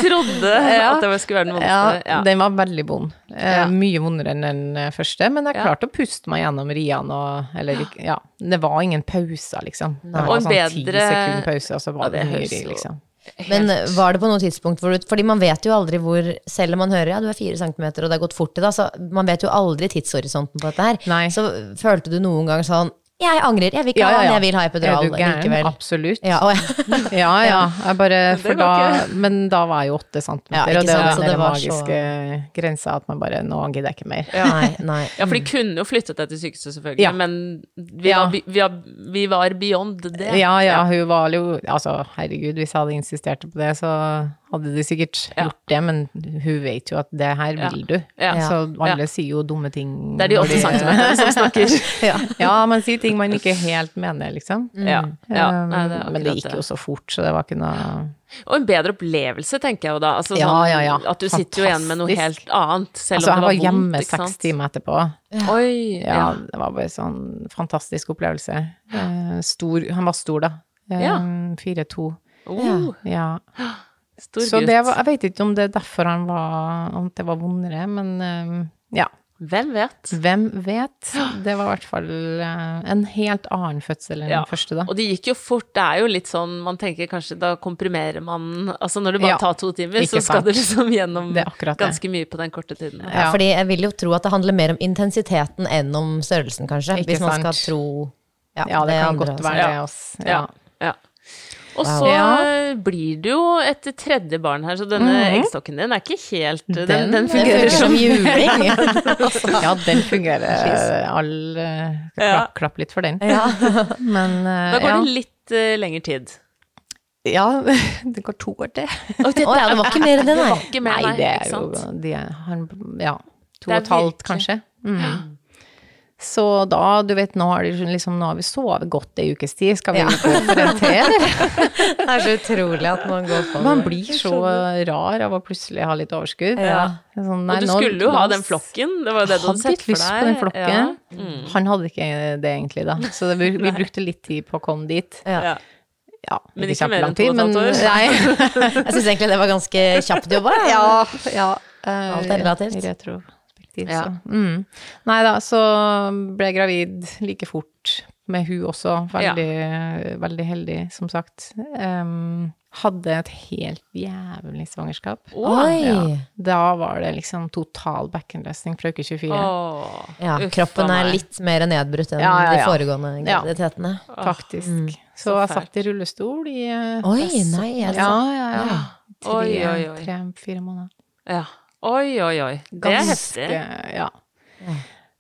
C: Trodde
D: Ja.
C: at det skulle være den
D: ja,
C: vondeste. Ja,
D: den var veldig vond. Eh,
C: Ja.
D: Mye vondere enn den eh, første, men jeg
C: Ja.
D: klarte å puste meg gjennom riene og Eller ikke- ja. Det var ingen pauser, liksom. Det var
C: Og en
D: sånn ti
C: bedre-
D: sekunder pause, og så
C: Ja,
D: var det
C: det
D: ny
C: høres
D: ri,
C: jo-
D: liksom.
E: Men eh, var det på noe tidspunkt hvor du Fordi man vet jo aldri hvor Selv om man hører ja, du er fire centimeter og det har gått fort i dag, så man vet jo aldri tidshorisonten på dette her.
D: Nei.
E: Så følte du noen gang sånn Jeg angrer, jeg vil ikke ha den, jeg vil ha epidural
D: Er du gæren?
E: likevel.
D: Absolutt.
E: Ja, og jeg,
D: Ja, ja. Jeg bare, for
C: går
D: da, men da var jeg jo åtte centimeter,
E: Ja, ikke
D: og det
E: sant,
D: var
E: så
D: den der
E: det var så-
D: magiske grensa at man bare Nå gidder jeg ikke mer.
E: nei, nei.
C: Ja, for de kunne jo flyttet deg til sykehuset, selvfølgelig,
D: mm. Ja.
C: men vi,
D: Ja.
C: var, bi- vi, var, vi var beyond det.
D: Ja, ja, hun var jo Altså, herregud, hvis jeg hadde insistert på det, så hadde de sikkert
C: Ja.
D: gjort det, men hun vet jo at det her vil du.
C: Ja.
D: Så alle
C: Ja.
D: sier jo dumme ting.
C: Det er de
D: når
C: åtte centimeterne som snakker. Mm.
D: ja. ja, man sier ting man ikke helt mener, liksom.
C: Ja, ja.
D: Um,
C: Nei, det er
D: men det
C: akkurat
D: gikk jo så fort, så det var ikke noe
C: Og en bedre opplevelse, tenker jeg jo da. Altså,
D: Ja,
C: sånn,
D: ja, ja.
C: At du sitter jo igjen med noe
D: Fantastisk.
C: helt annet, selv
D: Altså, jeg
C: om det
D: var
C: var, vondt.
D: hjemme
C: ikke
D: seks
C: sant?
D: timer etterpå.
C: Oi, ja.
D: Ja, det var bare sånn fantastisk opplevelse. Eh, stor, han var stor, da. Eh,
C: Ja.
D: 4-2.
C: Oh,
D: Ja.
C: stor
D: Så
C: gutt.
D: det var, jeg vet ikke om det er derfor han var Om det var vondere, men eh, ja.
C: Hvem vet?
D: Hvem vet? Det var i hvert fall eh, en helt annen fødsel enn
C: Ja.
D: den første, da.
C: Og det gikk jo fort. Det er jo litt sånn Man tenker kanskje da komprimerer man Altså når det bare
D: Ja,
C: tar to timer,
D: ikke
C: så skal
D: sant.
C: du liksom gjennom
D: Det er akkurat det.
C: ganske mye på den korte tiden.
E: Ja,
D: Ja.
E: fordi jeg vil jo tro at det handler mer om intensiteten enn om størrelsen, kanskje.
D: Ikke
E: hvis man
D: sant.
E: skal tro
D: Ja, det kan
E: andre
D: godt
E: har sagt.
C: sagt.
D: være det,
C: Ja.
D: altså. Ja.
C: Ja. ja. Og så
D: Ja. Mhm.
C: eh, blir det jo et tredje barn her, så denne eggstokken din er ikke helt Den, den,
E: Det
C: fungerer
E: virker
C: som
E: som juling.
D: ja, den fungerer. eh, All eh,
C: Altså. Ja.
D: klapp, klapp litt for den.
E: Ja.
D: Men eh,
C: Da går
D: ja.
C: det litt eh, lengre tid.
D: ja, det går to år til.
C: Og
E: Å ja, det var ikke mer enn det, nei.
C: ikke mer,
D: Nei, det er
C: ikke
D: jo
C: sant?
D: de, han, Ja, to
C: Det er
D: og et halvt,
C: virkelig-
D: kanskje. Mm. Så da, du vet, nå har, de, liksom, nå har vi sovet godt ei ukes tid, skal vi
E: Ja.
D: gå for en til, eller?
E: Det er så utrolig at man går for
D: Man blir så rar av å plutselig ha litt overskudd.
E: Ja.
D: Sånn,
C: Og
D: nei,
C: du
D: nå-
C: skulle jo ha
D: nå
C: den flokken, det var jo det du hadde
D: Hadde
C: sett
D: litt
C: for deg.
D: lyst på den flokken.
C: Ja.
D: Han hadde ikke det egentlig, da. Så det, vi brukte litt tid på å komme dit.
E: Ja.
C: Ja.
D: Ja,
C: Men ikke mer
D: kjempelang
C: enn to og et
D: tid,
C: halvt år.
D: men- Nei.
E: Jeg syns egentlig det var ganske kjapt jobba. jeg.
D: Ja, ja.
E: Alt er relativt.
D: Eh, I retrospektiv,
C: Ja.
D: så. Mm. Nei da, så ble jeg gravid like fort med hun også. Veldig, veldig heldig, som sagt. Em, hadde et helt jævlig svangerskap.
E: Oi!
D: Ja. Da var det liksom total bekkenløsning fra uke 24.
C: Åh,
E: Ja,
C: uff, faen
E: kroppen er
C: meg.
E: litt mer nedbrutt enn
D: Ja, ja, ja.
E: de foregående
D: Ja.
E: graviditetene.
D: Faktisk. Så,
C: så
D: jeg
C: fælt.
D: satt i rullestol i eh,
E: Oi,
D: fest-
E: nei, er det
D: ja,
E: sant?
D: ja, ja. Tre,
C: Oi, oi, oi.
D: tre-fire måneder.
C: Ja. Oi, oi, oi. Det er heftig.
D: Ganske, eh, ja.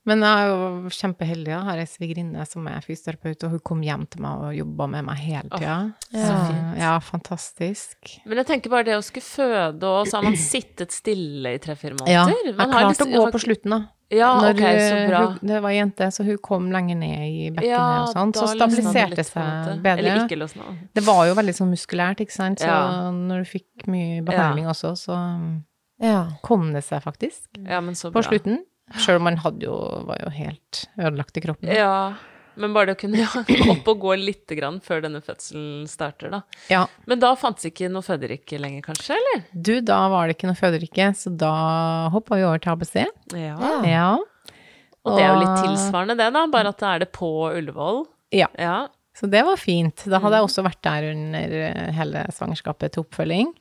D: Men jeg er jo kjempeheldig. Jeg har ei svigerinne som er fysioterapeut, og hun kom hjem til meg og jobba med meg hele tida. ja. ja, fantastisk.
C: Men jeg tenker bare det å skulle føde, og så har man sittet stille i tre-fire
D: Ja.
C: måneder.
D: Jeg
C: Man har
D: klarte
C: liksom-
D: å gå på slutten, da.
C: Ja, ok, så
D: eh,
C: bra.
D: Hun, det var ei jente, så hun kom lenger ned i bekkenet
C: Ja,
D: og sånn. Så
C: da løsna det litt,
D: stabiliserte det
C: på en måte.
D: seg bedre.
C: Eller ikke løsna.
D: Det var jo veldig sånn muskulært, ikke sant. Så
C: Ja.
D: når du fikk mye behandling også, så um,
E: Ja.
D: kom det seg faktisk.
C: Ja, men så bra.
D: På slutten. Sjøl om man hadde jo, var jo helt ødelagt i kroppen.
C: Ja, men bare det å kunne ja, gå opp og gå litt grann før denne fødselen starter, da.
D: Ja.
C: Men da fantes ikke noe føderikke lenger, kanskje, eller?
D: Du, da var det ikke noe føderikke, så da hoppa vi over til ABC.
C: Ja.
D: Ja.
C: Og det er jo litt tilsvarende det, da, bare at det er det på Ullevål.
D: Ja,
C: Ja. Mm.
D: så det var fint. Da hadde jeg også vært der under eh, hele Ehm, svangerskapet til oppfølging.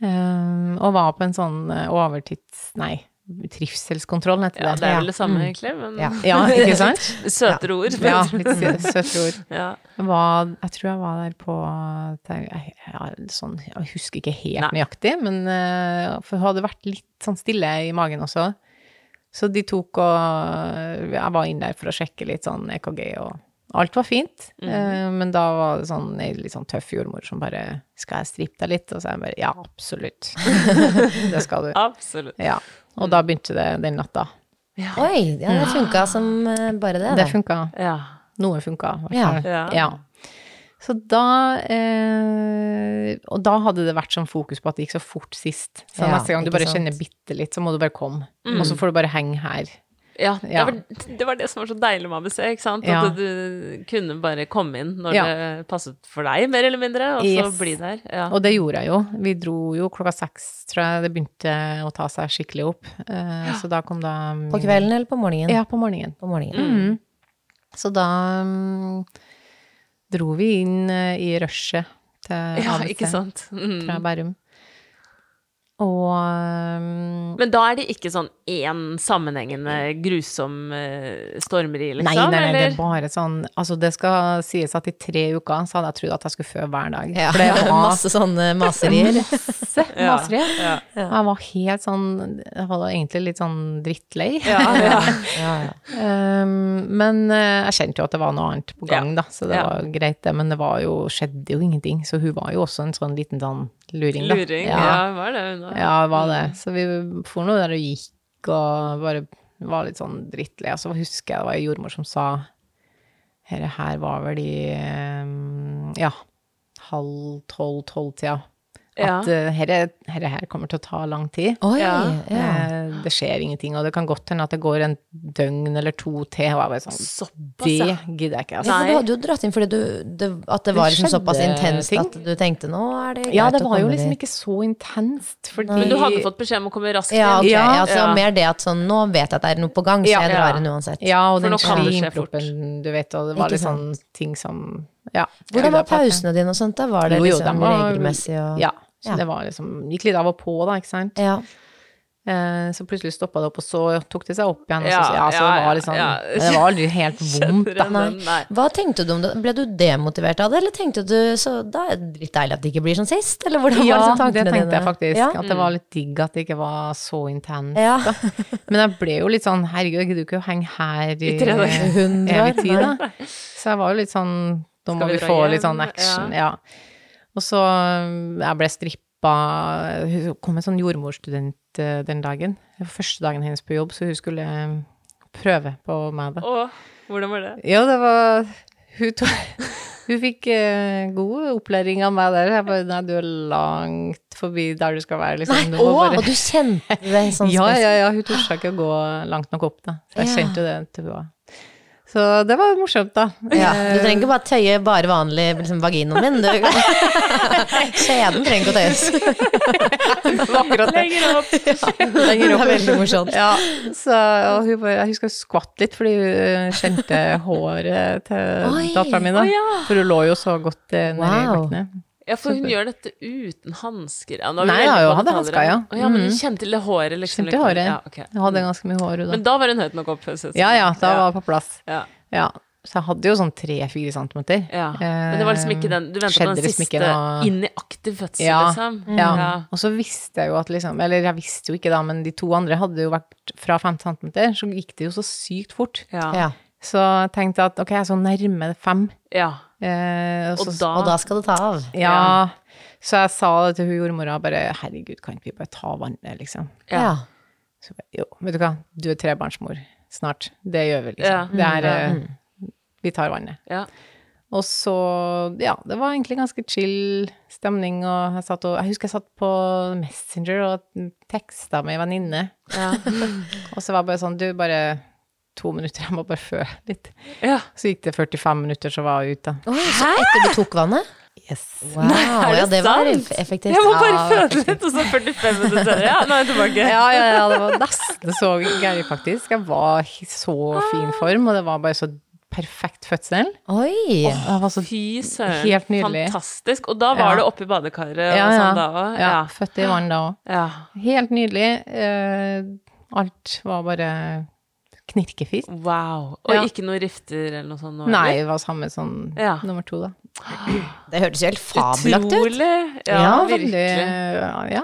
D: Eh, og var på en sånn eh, overtids... Nei, Trivselskontrollen heter
C: Ja,
D: det.
C: det er vel det samme, egentlig, men
D: Mm. Ja, ja ikke sant?
C: søtere ord.
D: Ja, litt sø- søte ord.
C: Ja.
D: Hva- jeg tror jeg var der på jeg, jeg, sånn, jeg husker ikke helt nøyaktig, men eh, for hun hadde vært litt sånn stille i magen også. Så de tok og Jeg var inn der for å sjekke litt sånn EKG, og alt var fint. Eh, Men da var det sånn ei litt sånn tøff jordmor som bare 'Skal jeg strippe deg litt?' Og så jeg bare 'Ja, absolutt'. det skal du.
C: Absolutt.
D: Ja. Og da begynte det den natta.
E: Oi, ja, det funka som eh, bare det.
D: Det
E: da.
D: funka.
C: Ja.
D: Noe funka. i hvert
E: Ja.
D: fall.
C: Ja.
D: ja. Så da eh, Og da hadde det vært sånn fokus på at det gikk så fort sist. Så
E: Ja,
D: neste gang du
E: ikke
D: bare
E: sant.
D: kjenner bitte litt, så må du bare komme.
C: Mm.
D: Og så får du bare henge her.
C: ja det,
D: Ja.
C: Var, det var det som var så deilig med ABC, ikke sant?
D: Ja.
C: At du kunne bare komme inn når
D: Ja.
C: det passet for deg, mer eller mindre, og så
D: Yes.
C: bli der. Ja.
D: Og det gjorde jeg jo. Vi dro jo klokka seks, tror jeg det begynte å ta seg skikkelig opp. Eh, så da kom da mm,
E: På kvelden eller på morgenen?
D: Ja, på morgenen.
E: På morgenen.
D: Så da mm, dro vi inn eh, i rushet til
C: ja,
D: ABC
C: ikke sant? Mm.
D: fra Bærum. Og mm,
C: Men da er det ikke sånn én sammenhengende grusom eh, stormri, liksom?
D: Nei, nei, nei, det er
C: eller?
D: bare sånn Altså, det skal sies at i tre uker så hadde jeg trodd at jeg skulle føde hver dag.
E: Ja,
D: For det var
E: masse sånne maserier.
D: masse maseri.
C: Ja,
D: Og jeg var helt sånn Jeg var egentlig litt sånn drittlei.
C: Ja, ja.
D: Um, men eh, jeg kjente jo at det var noe annet på gang,
C: Ja.
D: da, så det
C: Ja.
D: var greit, det. Men det var jo, skjedde jo ingenting, så hun var jo også en sånn liten sånn luring, da.
C: Luring. Ja, hva er det hun har?
D: Ja, det var
C: Mm.
D: det. Så vi for noe der og gikk og bare var litt sånn drittlei. Og så husker jeg det var en jordmor som sa Dette her var vel i eh, ja, halv tolv-tolv-tida.
C: Ja.
D: At eh, herre, herre her kommer til å ta lang tid.
E: Oi, ja.
C: Ja.
D: Eh, Det skjer ingenting, og det kan godt hende at det går en døgn eller to til. Og jeg bare sånn
C: Såpass,
D: Det
C: ja.
D: gidder jeg ikke, altså.
E: Ja, for
C: Nei.
E: Du hadde jo dratt inn fordi du, det, at det var liksom
D: skjedde
E: såpass intenst
D: ting.
E: at du tenkte nå er det greit
D: Ja, det
E: å
D: var jo
E: komme
D: liksom
E: dit».
D: ikke så intenst, fordi
C: Men du hadde fått beskjed om å komme raskt
E: ja, ok,
D: Ja,
E: altså
C: ja.
E: Mer det at sånn, nå vet jeg at det er noe på gang, så
D: Ja,
E: jeg
C: ja.
E: drar inn uansett.
D: Ja, og
C: For
D: den
C: nå kan det skje fort.
D: slimproppen, du vet, og det var
E: Ikke
D: litt sånn ting som Ja.
E: Hvordan var pausene dine og sånt? da? Var det
D: Jo, jo,
E: liksom
D: den var-
E: regelmessig? Og...
D: Ja. Så
E: Ja.
D: det var liksom Gikk litt av og på, da, ikke sant.
E: Ja.
D: Eh, Så plutselig stoppa det opp, og så tok det seg opp igjen. Og
C: Ja,
D: så, ja, så
C: ja,
D: det
C: ja,
D: var liksom
C: ja.
D: men Det var aldri helt vondt, da.
C: Nei. Nei.
E: Hva tenkte du om det? Ble du demotivert av det, eller tenkte du så da er det litt deilig at det ikke blir som sist? Eller hvordan var
D: Ja,
E: liksom tankene
D: det tenkte jeg
E: dine?
D: faktisk.
E: Ja?
D: At det var litt digg at det ikke var så intenst.
E: Ja.
D: Da. Men jeg ble jo litt sånn Herregud, jeg gidder jo ikke å henge her i,
C: tre dager.
E: Hundre år,
D: evig tid, da. Så jeg var jo litt sånn Nå må
C: vi
D: vi,
C: dra
D: få
C: hjem?
D: litt sånn action. Ja. Og så um, Jeg ble strippa Hun kom en sånn jordmorstudent eh, den dagen. Det var første dagen hennes på jobb, så hun skulle eh, prøve på meg, da.
C: Åh, hvordan var det?
D: Ja, det var Hun, tok, hun fikk eh, god opplæring av meg der. Jeg bare Nei, du er langt forbi der du skal være, liksom. Du må
E: Å,
D: bare
E: og du kjente det sånn
D: Ja,
E: spesielt?
D: ja, ja. Hun torde ikke å gå langt nok opp, da. Så jeg
E: Ja.
D: kjente jo det til hun òg. Så det var morsomt, da.
E: Ja, du trenger ikke bare tøye bare vanlig liksom, vaginaen min. Du. Skjeden trenger ikke å tøyes.
D: akkurat det.
C: Lenger opp!
E: Det er veldig morsomt.
D: Ja, så, og hun bare, jeg husker hun skvatt litt fordi hun eh, kjente håret til
E: Oi,
D: dattera mi. Da.
C: å ja.
D: For hun lå jo så godt eh, nedi
E: Wow.
D: beltene.
C: Ja, for hun gjør dette uten hansker. Ja, nå er vi
D: Nei,
C: veldig
D: ja,
C: på
D: hun hadde
C: detaljer
D: hansker, ja. Mm.
C: her. Å, ja, men hun kjente det håret, liksom.
D: Kjente håret.
C: Ja, ok. Mm.
D: Hun hadde ganske mye hår, hun da.
C: Men da var hun høyt nok opp. synes jeg.
D: Ja, ja, da var hun på plass.
C: sånn. Ja.
D: Ja, så jeg hadde jo sånn 3-4 centimeter.
C: Ja. Men det var liksom ikke den Du ventet på
D: Skjedde
C: den
D: liksom
C: siste
D: ikke noe-
C: inn i aktiv fødsel,
D: Ja, Mm.
C: liksom?
D: ja. Og så visste jeg jo at liksom Eller jeg visste jo ikke da, men de to andre hadde jo vært fra 5 centimeter, så gikk det jo så sykt fort.
C: Ja.
E: Ja.
D: Så jeg tenkte at ok, jeg er så nærme fem.
C: ja.
D: Eh,
C: Og
D: så,
C: da,
E: Og da skal det ta av.
D: Ja. Så jeg sa det til hun jordmora, bare herregud, kan ikke vi bare ta vannet, liksom.
C: Ja.
E: Ja.
D: Så bare, jo, vet du hva, du er trebarnsmor snart. Det gjør vi,
C: Ja. Mm.
D: liksom. Det er eh, Vi tar vannet.
C: ja.
D: Og så, ja, det var egentlig ganske chill stemning, og jeg, satt og, jeg husker jeg satt på Messenger og teksta med ei venninne.
C: Ja.
D: Og så var jeg bare sånn, du, bare to minutter, jeg må bare føde litt.
C: ja.
D: Så gikk det 45 minutter, så var jeg ute. da.
E: Oi, så etter du tok vannet?
D: Yes.
E: Wow, ja, det var
C: sant?
E: effektivt.
C: Jeg må bare
E: Ja,
C: føde litt, og så 45 minutter senere. Ja, nå er jeg tilbake.
D: Ja, ja, ja, det var nesten så gøy, faktisk. Jeg var i så fin form, og det var bare så perfekt fødsel.
E: Oi!
D: Jeg var så
C: Fy søren.
D: Helt nydelig.
C: Fantastisk. Og da var
D: Ja.
C: det oppe i badekaret
D: ja,
C: og
D: ja.
C: sånn da òg?
D: ja, født i vann da òg.
C: Ja.
D: Helt nydelig. Eh, Alt var bare knirkefritt.
C: Wow. Og
D: Ja.
C: ikke noe rifter eller noe sånt? nå,
D: Nei,
C: eller?
D: det var samme sånn
C: Ja.
D: nummer to, da.
E: Det hørtes jo helt fabelaktig ut.
C: Utrolig. Ja,
D: Ja, veldig,
C: virkelig.
D: ja.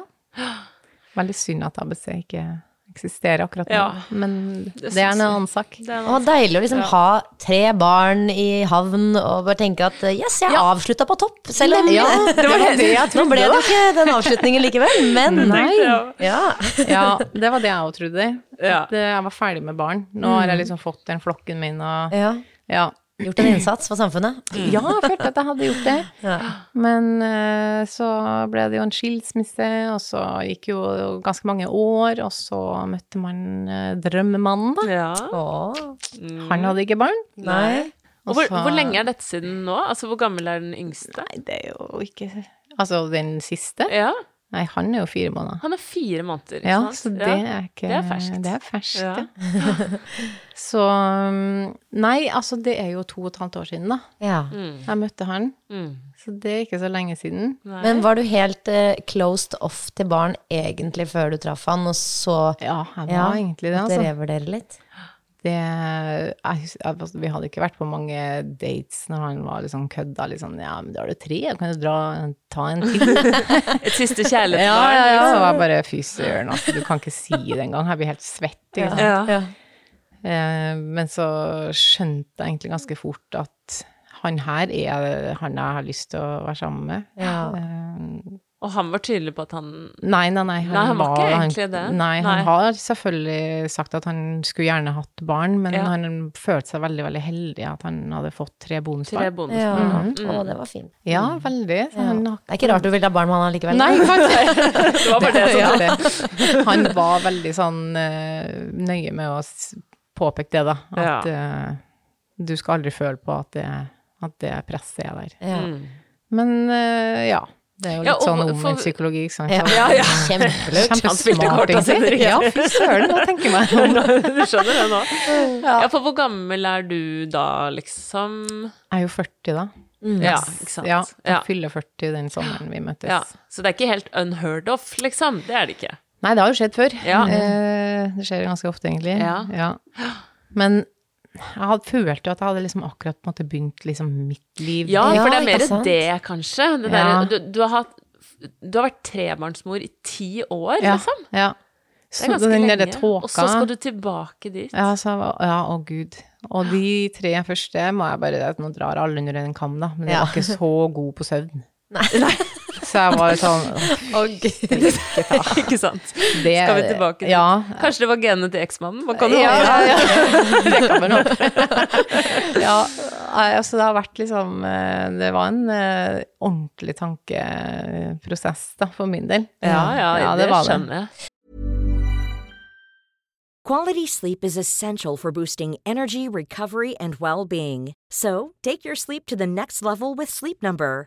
D: Veldig synd at ABC ikke eksisterer akkurat nå.
C: Ja.
D: Men
C: Det
D: det er
C: syns
D: en
C: jeg.
D: annen sak.
C: Det er
E: Og deilig å liksom ha tre barn i havn og bare tenke at eh, yes, jeg avslutta på topp. Selv om
D: Ja, det var det jeg
E: Nå ble det jo ikke den avslutningen likevel, men
C: Ja.
E: Ja.
D: Ja, det var det jeg òg trodde.
C: Ja. Mm.
D: At eh, jeg var ferdig med barn. Nå har jeg liksom fått den flokken min og
E: ja.
D: Ja.
E: Gjort en innsats for samfunnet.
D: Ja, jeg følte at jeg hadde gjort det. Men eh, så ble det jo en skilsmisse, og så gikk jo ganske mange år, og så møtte man eh, drømmemannen, da.
C: Ja.
E: Åh,
C: Mm.
D: Han hadde ikke barn.
E: nei.
C: Og hvor,
D: Og så-
C: hvor lenge er dette siden nå? Altså, Hvor gammel er den yngste?
D: Nei, det er jo ikke Altså den siste?
C: Ja,
D: Nei, han er jo fire måneder.
C: Han er fire måneder. ikke
D: Ja,
C: sant?
D: så det er ikke
C: Det er ferskt.
D: Det er ferskt,
C: Ja.
D: ja. Så um, Nei, altså, det er jo to og et halvt år siden, da.
E: Ja.
D: Jeg møtte han.
C: Mm.
D: Så det er ikke så lenge siden.
E: Men var du helt eh, closed off til barn egentlig før du traff han, og så
D: Ja, jeg var
E: Ja,
D: egentlig det,
E: måtte
D: altså.
E: revurdere litt?
D: Det, jeg, hus- jeg- altså, vi hadde ikke vært på mange dates når han var liksom kødda litt sånn Ja, men da er du tre, kan du dra, ta en til?
C: Et siste kjærlighetsbarn.
D: ja, ja, ja. Så
C: liksom.
D: var jeg bare fy søren, altså, du kan ikke si det engang. Jeg blir helt svett. Ikke sant?
C: Ja.
D: Eh, Men så skjønte jeg egentlig ganske fort at han her er han jeg har lyst til å være sammen med.
E: Ja.
D: Eh,
C: Og han var tydelig på at han
D: Nei, nei, nei.
C: Nei, han var ikke egentlig det.
D: Nei,
C: Nei.
D: han har selvfølgelig sagt at han skulle gjerne hatt barn, men
C: Ja.
D: han følte seg veldig, veldig heldig at han hadde fått tre
C: Tre
D: bonusbarn.
E: Ja.
C: bonusbarn.
E: Å, det var fint.
D: Ja, veldig. Så
E: Ja.
D: han
E: Det
D: har
E: er ikke rart du ville ha barn med han allikevel.
D: Nei, kanskje.
C: Det var bare det som
D: Ja. Han var veldig sånn eh, nøye med å s- påpeke det, da. At eh, du skal aldri føle på at det, at det presset er der.
E: Ja.
D: Men eh, ja. Det er jo
C: Mm. Ja,
D: litt sånn
C: og for-
D: omvendt psykologi, ikke sant.
E: Ja.
D: Så-
C: Ja, ja.
E: Kjempelurt.
C: Han spilte
D: Kjempesmart,
C: kortene sine
D: egentlig.
C: riktig.
D: Ja, fy søren, nå tenker jeg meg om.
C: Du skjønner det nå? Ja. for hvor gammel er du da, liksom?
D: Jeg er jo 40, da.
C: Ja, ikke sant?
D: Mm. Ja, jeg
C: ja.
D: fyller 40 den sommeren vi møttes.
C: Ja. Så det er ikke helt unheard of, liksom? Det er det ikke.
D: Nei, det har jo skjedd før.
C: Ja.
D: Eh, det skjer ganske ofte, egentlig.
C: Ja.
D: Men jeg hadde følt jo at jeg hadde liksom akkurat på en måte begynt liksom mitt liv.
C: Ja,
E: Ja,
C: for det er
E: ikke
C: mer
E: sant?
C: det, kanskje. Det
D: Ja.
C: der, du, du, har hatt, du har vært trebarnsmor i ti år,
D: ja.
C: liksom.
D: Ja.
C: Det er
D: Så
C: ganske
D: den
C: lenge.
D: derre tåka
C: Og så skal du tilbake dit.
D: Ja, så jeg var, ja, å gud. Og de tre første må jeg bare Nå drar alle under en kam, da, men jeg
E: Ja.
D: var ikke så god på søvn. Så jeg var sånn
C: ikke sant?
D: det,
C: Skal vi tilbake dit?
D: Ja.
C: Kanskje det var genene til eksmannen? Hva kan du
D: ja,
C: ha?
D: ja, ja. Det kan man håpe. Ja, nei, altså det har vært liksom eh, Det var en eh, ordentlig tankeprosess, da, for min del.
C: Ja, ja, det,
D: var
C: skjønner jeg.
F: Quality sleep is essential for boosting energy, recovery, and well being. So, take your sleep to the next level with Sleep Number.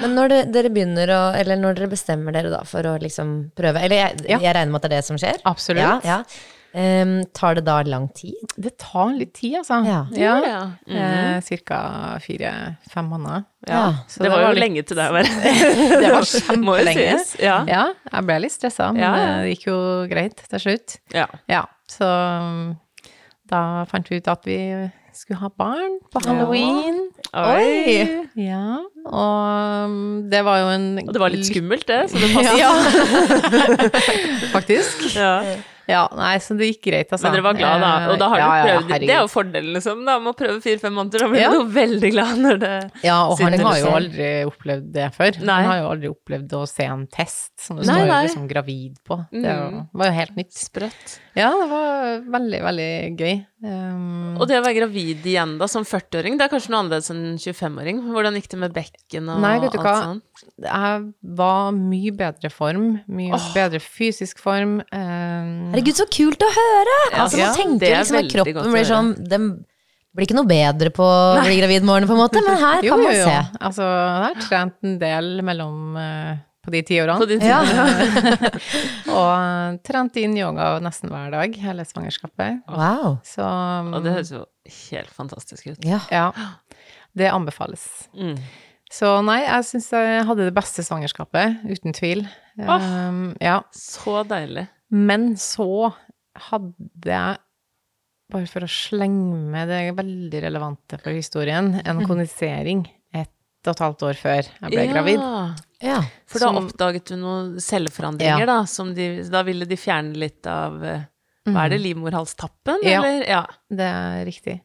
E: Men når det, dere begynner å Eller når dere bestemmer dere da for å liksom prøve Eller jeg,
D: Ja.
E: jeg regner med at det er det som skjer?
D: Absolutt.
E: Ja, ja. Ehm, tar det da lang tid?
D: Det tar litt tid, altså.
E: Ja.
C: ja. Mhm.
D: Eh, cirka fire-fem måneder.
E: Ja.
D: Så
C: Det var jo
D: litt-
C: lenge til det var
D: Det var
C: Må jo
D: kjempelenge.
C: sies, ja.
D: ja, jeg ble litt stressa, men
C: Ja, ja.
D: eh, det gikk jo greit til slutt.
C: Ja.
D: Ja, så um, da fant vi ut at vi skulle ha barn på halloween.
C: Oi!
D: Ja, Og um, det var jo en
C: Og det var litt skummelt, det. Så det passet.
D: Ja. Faktisk.
C: Ja.
D: Ja, nei, så det gikk greit, altså.
C: Men dere var glad da. Og da har
D: ja,
C: du
D: ja,
C: prøvd. det er jo
D: herregud.
C: fordelen, liksom. Da, med å prøve fire-fem måneder. Da blir
D: Ja.
C: du jo veldig glad når det
D: Ja, og han
C: Sitter
D: har jo
C: liksom.
D: aldri opplevd det før.
C: Nei.
D: Han har jo aldri opplevd å se en test som det
C: Nei,
D: står
C: nei.
D: liksom gravid på. Det var-
C: Mm.
D: var jo helt nytt.
C: Sprøtt.
D: Ja, det var veldig, veldig gøy. Um,
C: Og det å være gravid igjen da, som 40-åring, det er kanskje noe annerledes enn 25-åring? Hvordan gikk det med bekken og
D: Nei, vet du
C: alt
D: hva?
C: sånn?
D: jeg var mye bedre form, mye bedre fysisk form. Um,
E: Herregud, så kult å høre! altså,
C: ja,
E: man
C: det
E: tenker
C: er
E: liksom at
C: veldig godt å
E: kroppen blir
C: høre.
E: sånn Den blir ikke noe bedre på å bli gravid morgen, på en måte, men her
D: Jo,
E: kan
D: jo,
E: man
D: jo.
E: se.
D: Altså, jeg har trent en del mellom eh, på de ti årene.
C: På de
E: Ja.
D: Og eh, trent inn yoga nesten hver dag hele svangerskapet.
E: Wow.
D: Så
C: Og det høres jo helt fantastisk ut.
E: Ja.
D: ja, det anbefales. Så nei, jeg syns jeg hadde det beste svangerskapet, uten tvil. Um, ja.
C: Så deilig.
D: Men så hadde jeg, bare for å slenge med det veldig relevante for historien, en kondisering ett og et halvt år før jeg ble
C: Ja,
D: gravid.
E: ja.
C: For da
D: Som-
C: oppdaget du noen celleforandringer,
D: Ja.
C: da. Som de, da ville de fjerne litt av eh, Hva er det, livmorhalstappen,
D: Mhm. Ja.
C: eller? Ja.
D: Det er riktig.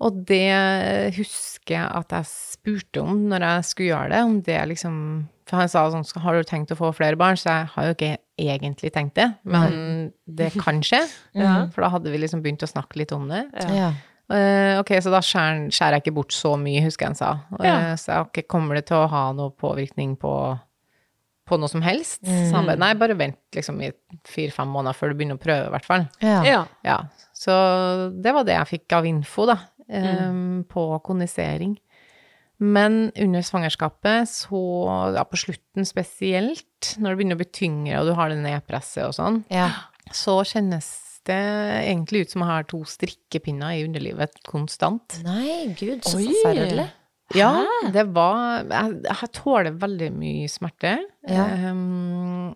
D: Og det husker jeg at jeg spurte om når jeg skulle gjøre det, om det liksom For han sa sånn Har du tenkt å få flere barn? Så jeg har jo ikke egentlig tenkt det, men det kan skje. For da hadde vi liksom begynt å snakke litt om det.
E: ja.
D: Eh, ok, så da skjærer, skjærer jeg ikke bort så mye, husker jeg han sa. Eh,
C: Ja.
D: så jeg, ok, kommer det til å ha noe påvirkning på, på noe som helst? Så han bare, nei, bare vent liksom i fire-fem måneder før du begynner å prøve, i hvert fall.
E: Ja.
C: ja.
D: Ja, så det var det jeg fikk av info, da, eh, på kondisering. Men under svangerskapet, så ja, på slutten spesielt, når du begynner å bli tyngre og du har det nedpresset og sånn,
E: Ja.
D: så kjennes det egentlig ut som jeg har to strikkepinner i underlivet konstant.
E: Nei, gud, så
C: Oi.
E: forferdelig.
D: Ja, det var Jeg, jeg tåler veldig mye smerte.
E: Ja.
D: Ehm,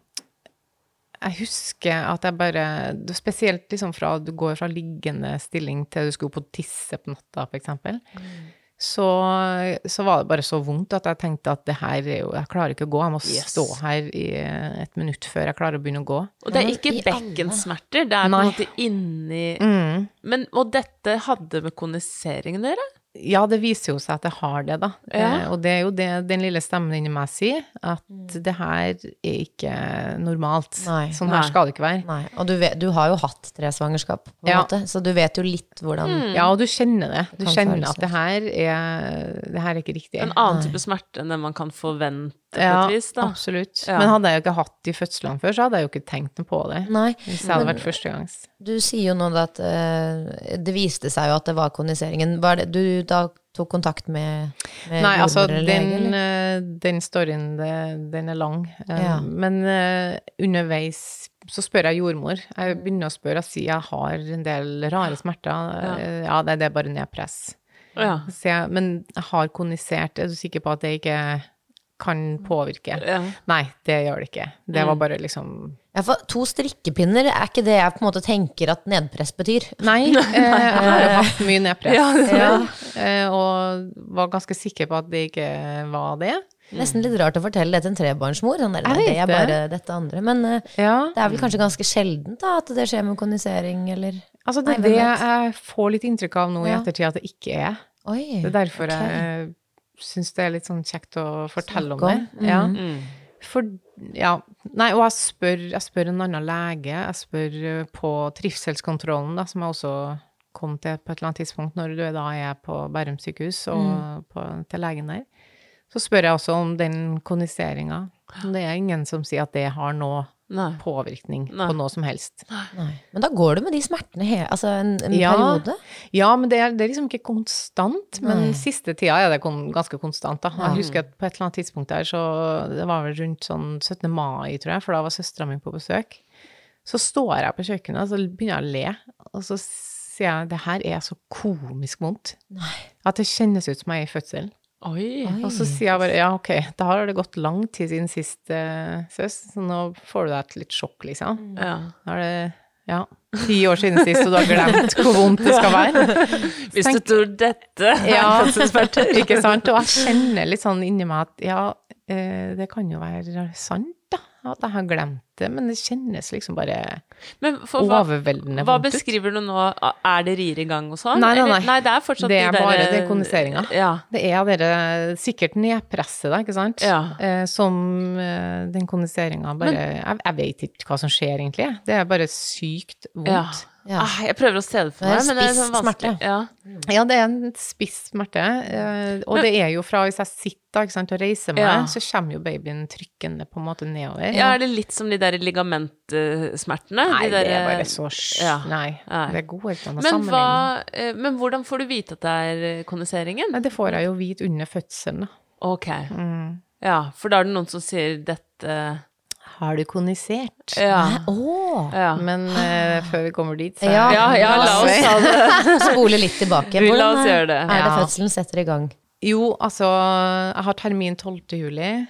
D: jeg husker at jeg bare det- Spesielt liksom fra du går fra liggende stilling til du skulle opp og tisse på natta, f.eks. eksempel, Så, så var det bare så vondt at jeg tenkte at det her er jo Jeg klarer ikke å gå. Jeg må
C: Yes.
D: stå her i et minutt før jeg klarer å begynne å gå.
C: Og det er
E: Men
C: ikke
E: i alle-
C: bekkensmerter, det er på en måte inni
D: Mm.
C: Men, Og dette hadde med kondiseringen å gjøre?
D: Ja, det viser jo seg at jeg har det, da.
C: Ja. Mm.
D: Eh, og det er jo det den lille stemmen inni meg sier, at det her er ikke normalt.
E: Nei.
D: Sånn
C: Nei.
D: her skal det ikke være.
E: Nei. Og du, vet, du har jo hatt tre svangerskap, på en
D: Ja. Mm.
E: måte, så du vet jo litt hvordan
D: Ja, og du kjenner det. Du
E: Mm. Kan
D: kjenner
E: føles
D: at det her er, det her er ikke riktig.
C: En annen type smerte enn den man kan forvente, på
D: Ja,
C: et vis, da.
D: absolutt.
C: Ja.
D: Men hadde jeg jo ikke hatt de fødslene før, så hadde jeg jo ikke tenkt noe på det.
E: Nei.
D: Hvis det hadde vært førstegangs.
E: Du sier jo nå da at eh, det viste seg jo at det var kondiseringen. Var det, du da tok kontakt med, med
D: Nei, altså,
E: jordmor eller lege,
D: den,
E: eller?
D: eh, den storyen, det- den er lang. Eh,
E: Ja.
D: Men eh, underveis så spør jeg jordmor. Jeg begynner å spørre og sier jeg har en del rare smerter. Eh, Ja, det, det er bare nedpress.
C: Å, Ja.
D: Så jeg, men jeg har kondisert. Er du sikker på at det ikke kan påvirke?
C: Ja. Mm.
D: Nei, det gjør det ikke. Det var bare liksom
E: Ja, for to strikkepinner er ikke det jeg på en måte tenker at nedpress betyr.
D: Nei, eh, jeg har jo hatt mye nedpress.
C: Ja, det-
D: eh, og var ganske sikker på at det ikke var det.
E: Nesten litt rart å fortelle det til en trebarnsmor. Sånn der,
D: Jeg
E: nei, det
D: vet
E: er
D: Mm. det.
E: bare dette andre. Men eh,
D: Ja.
E: det er vel kanskje ganske sjeldent da, at det skjer med kondisering, eller
D: Altså, det
E: Nei,
D: er
E: hvem
D: det
E: vet?
D: jeg får litt inntrykk av nå i
E: Ja.
D: ettertid at det ikke er.
E: Oi.
D: Det er derfor
E: ok.
D: jeg syns det er litt sånn kjekt å fortelle om det.
E: Snakke om. Mm.
D: Ja. For, ja. Nei, og jeg spør, jeg spør en annen lege. Jeg spør eh, på trivselskontrollen, da, som jeg også kom til på et eller annet tidspunkt når du er- da er på Bærum sykehus og
E: Mm.
D: på, til legen der. Så spør jeg også om den kondiseringa. Det er ingen som sier at det har noe
C: Nei.
D: påvirkning
C: Nei.
D: på noe som helst.
E: Nei. Men da går du med de smertene he altså en, en
D: Ja.
E: periode?
D: Ja, men det er, det er liksom ikke konstant. Men siste tida er det kon ganske konstant, da. Jeg husker at på et eller annet tidspunkt der, så det var vel rundt sånn 17. mai, tror jeg, for da var søstera mi på besøk. Så står jeg på kjøkkenet, og så begynner jeg å le. Og så sier jeg det her er så komisk vondt. At det kjennes ut som jeg er i fødsel.
C: Oi.
D: Og så sier jeg bare ja, ok, da har det gått lang tid siden
C: Mm.
D: sist, eh, søs, så nå får du deg et litt sjokk, liksom.
C: Ja.
D: Da er det Ja. ti år siden sist, og du har glemt hvor vondt det skal være.
C: Hvis du tror dette er
D: Ja,
C: fødselsverter.
D: ikke sant? Og jeg kjenner litt sånn inni meg at ja, eh, det kan jo være sant, da. At jeg har glemt det, men det kjennes liksom bare
C: Men for, hva,
D: Overveldende
C: hva
D: vondt ut.
C: beskriver du nå? Er det rier i gang og sånn?
D: Nei, nei, nei.
C: Eller- nei det er fortsatt
D: Det er
C: de der,
D: bare det kondiseringa.
C: Ja.
D: Det er dere sikkert nedpresset, da, ikke sant?
C: Ja.
D: Eh, som eh, den kondiseringa bare jeg, jeg vet ikke hva som skjer, egentlig. Det er bare sykt
C: ja.
D: vondt.
E: Ja.
C: Ah, jeg prøver å se det for
E: Det er
C: meg, men det er
E: spiss
C: sånn vanskelig.
E: smerte.
C: Ja.
D: Ja, det er en spiss smerte. eh, Og det er jo fra hvis jeg sitter da, ikke sant, og reiser meg,
C: Ja.
D: så kommer jo babyen trykkende på en måte nedover.
C: ja, er det litt som de der ligamentsmertene?
D: Nei,
C: de der,
D: det er bare så sj...
C: ja.
D: Nei,
C: Nei.
D: det går ikke an å
C: men,
D: sammenligne.
C: hva, eh, men hvordan får du vite at det er eh, kondiseringen?
D: Nei, det Mm. får jeg jo vite under fødselen. da.
C: Ok. Ja, for da er det noen som sier dette
D: Har du kondisert?
C: Ja.
E: Åh.
C: ja.
D: Men eh, før vi kommer dit, så
E: Ja.
C: Ja, ja, la oss ta det.
E: Spole litt tilbake.
C: Vi la
E: Hvordan
C: oss
E: er-
C: gjøre det.
E: Er det
D: Ja.
E: fødselen setter i gang?
D: Jo, altså, jeg har termin 12. juli,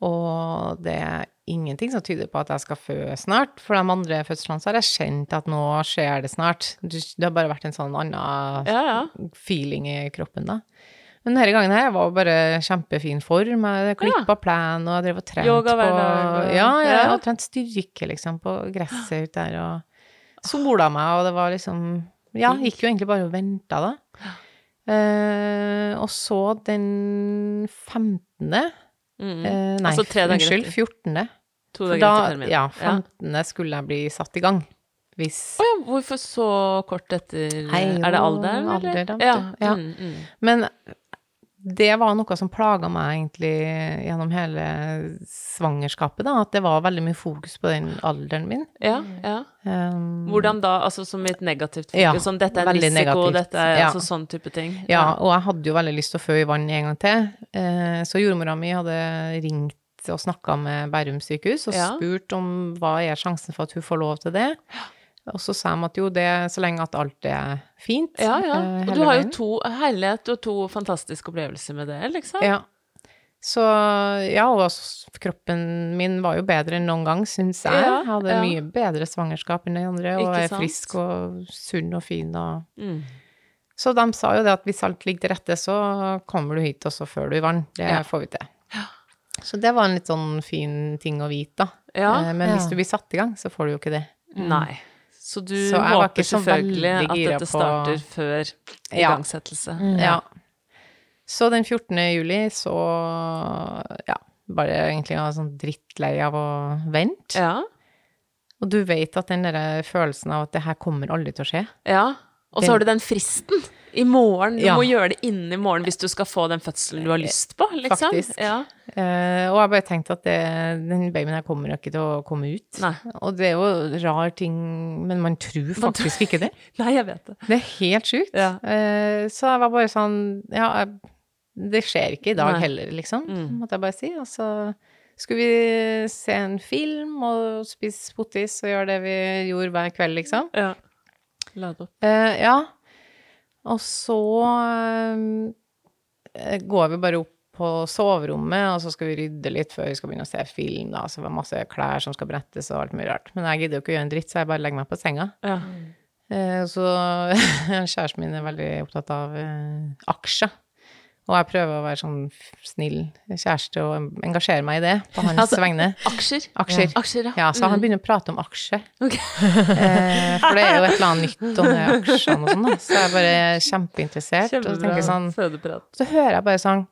D: og det er ingenting som tyder på at jeg skal føde snart. For de andre fødslene så har jeg kjent at nå skjer det snart. Du- Det har bare vært en sånn annen
C: Ja, ja.
D: feeling i kroppen da. Men denne gangen her var bare kjempefin form. Jeg klippa plen, og jeg drev og trente
C: Yoga hver
D: på
C: dag, og-
D: Ja, ja,
C: Ja.
D: og trent styrke, liksom, på gresset ute der, og
C: Ah.
D: sola meg, og det var liksom Ja, gikk jo egentlig bare og venta, da. Eh, og så den 15. eh, nei,
C: Altså tre dager
D: unnskyld,
C: etter.
D: 14.
C: To
D: For
C: dager
D: Da,
C: etter termin.
D: ja,
C: Ja.
D: 15. skulle jeg bli satt i gang. Hvis
C: Å ja, hvorfor så kort etter
D: Nei,
C: Er det
D: jo,
C: alderen, eller?
D: alder, da, vet
C: ja.
D: du. Ja.
C: Mm, mm.
D: Men det var noe som plaga meg egentlig gjennom hele svangerskapet, da. At det var veldig mye fokus på den alderen min.
C: ja, ja.
D: Um,
C: Hvordan da? Altså som et negativt fokus?
D: Ja,
C: sånn dette er en
D: veldig
C: risiko,
D: negativt.
C: dette er
D: Ja.
C: altså sånn type ting?
D: ja, og jeg hadde jo veldig lyst til å fø i vann en gang til. Eh, Så jordmora mi hadde ringt og snakka med Bærum sykehus og
C: Ja.
D: spurt om hva er sjansen for at hun får lov til det. Og så sa de at jo, det er så lenge at alt er fint.
C: Ja, ja.
D: eh,
C: Og
D: hele
C: du har jo
D: veien.
C: to herlighet og to fantastiske opplevelser med det, liksom.
D: Ja. Så ja, og s- kroppen min var jo bedre enn noen gang, syns jeg.
C: Ja,
D: jeg hadde
C: ja.
D: mye bedre svangerskap enn de andre, og
C: Ikke
D: er
C: sant? Mm.
D: frisk og sunn og fin og Så de sa jo det at hvis alt ligger til rette, så kommer du hit, og så før du i vann. Det
C: Ja.
D: får vi til. Så det var en litt sånn fin ting å vite, da.
C: Ja.
D: Eh, Men hvis
E: Ja.
D: du blir satt i gang, så får du jo ikke det.
C: Nei. Så du
D: Så jeg var
C: håper
D: ikke så
C: selvfølgelig
D: veldig
C: at
D: gira
C: dette
D: på-
C: starter før
D: Ja.
C: igangsettelse.
D: Ja. Så den 14. juli så ja, bare egentlig jeg var sånn drittlei av å vente.
C: Ja.
D: Og du vet at den der eh, følelsen av at det her kommer aldri til å skje.
C: ja. Og så
D: Den-
C: har du den fristen i morgen. Du
D: Ja.
C: må gjøre det innen i morgen hvis du skal få den fødselen du har lyst på, liksom.
D: Faktisk.
C: Ja.
D: Eh, og jeg bare tenkte at det, den babyen her kommer jo ikke til å komme ut.
C: Nei.
D: Og det er jo rar ting, men man tror faktisk ikke det.
C: Nei, jeg vet det.
D: Det er helt sjukt.
C: Ja.
D: Eh, så jeg var bare sånn Ja, jeg- det skjer ikke i dag
C: Nei. Mm.
D: heller, liksom, måtte jeg bare si. Og så skulle vi se en film og spise pottis og gjøre det vi gjorde hver kveld, liksom.
C: Ja. Lade opp.
D: Eh, ja. Og så eh, går vi bare opp på soverommet, og så skal vi rydde litt før vi skal begynne å se film, da. Så det er masse klær som skal brettes og alt mye rart. Men jeg gidder jo ikke å gjøre en dritt, så jeg bare legger meg på senga.
C: Ja.
D: Eh, Så kjæresten min er veldig opptatt av eh, aksjer. Og jeg prøver å være sånn snill kjæreste og engasjere meg i det på hans
C: Altså,
D: vegne.
C: Aksjer.
D: Aksjer.
C: Ja. Aksjer, ja.
D: ja. Så han begynner å prate om aksjer.
C: Mm. Ok.
D: Eh, for det er jo et eller annet nytt om de aksjene og sånn, da. Så jeg er bare kjempeinteressert. Og
C: Kjempebra
D: tenker sånn
C: fødeprat.
D: Så hører jeg bare sånn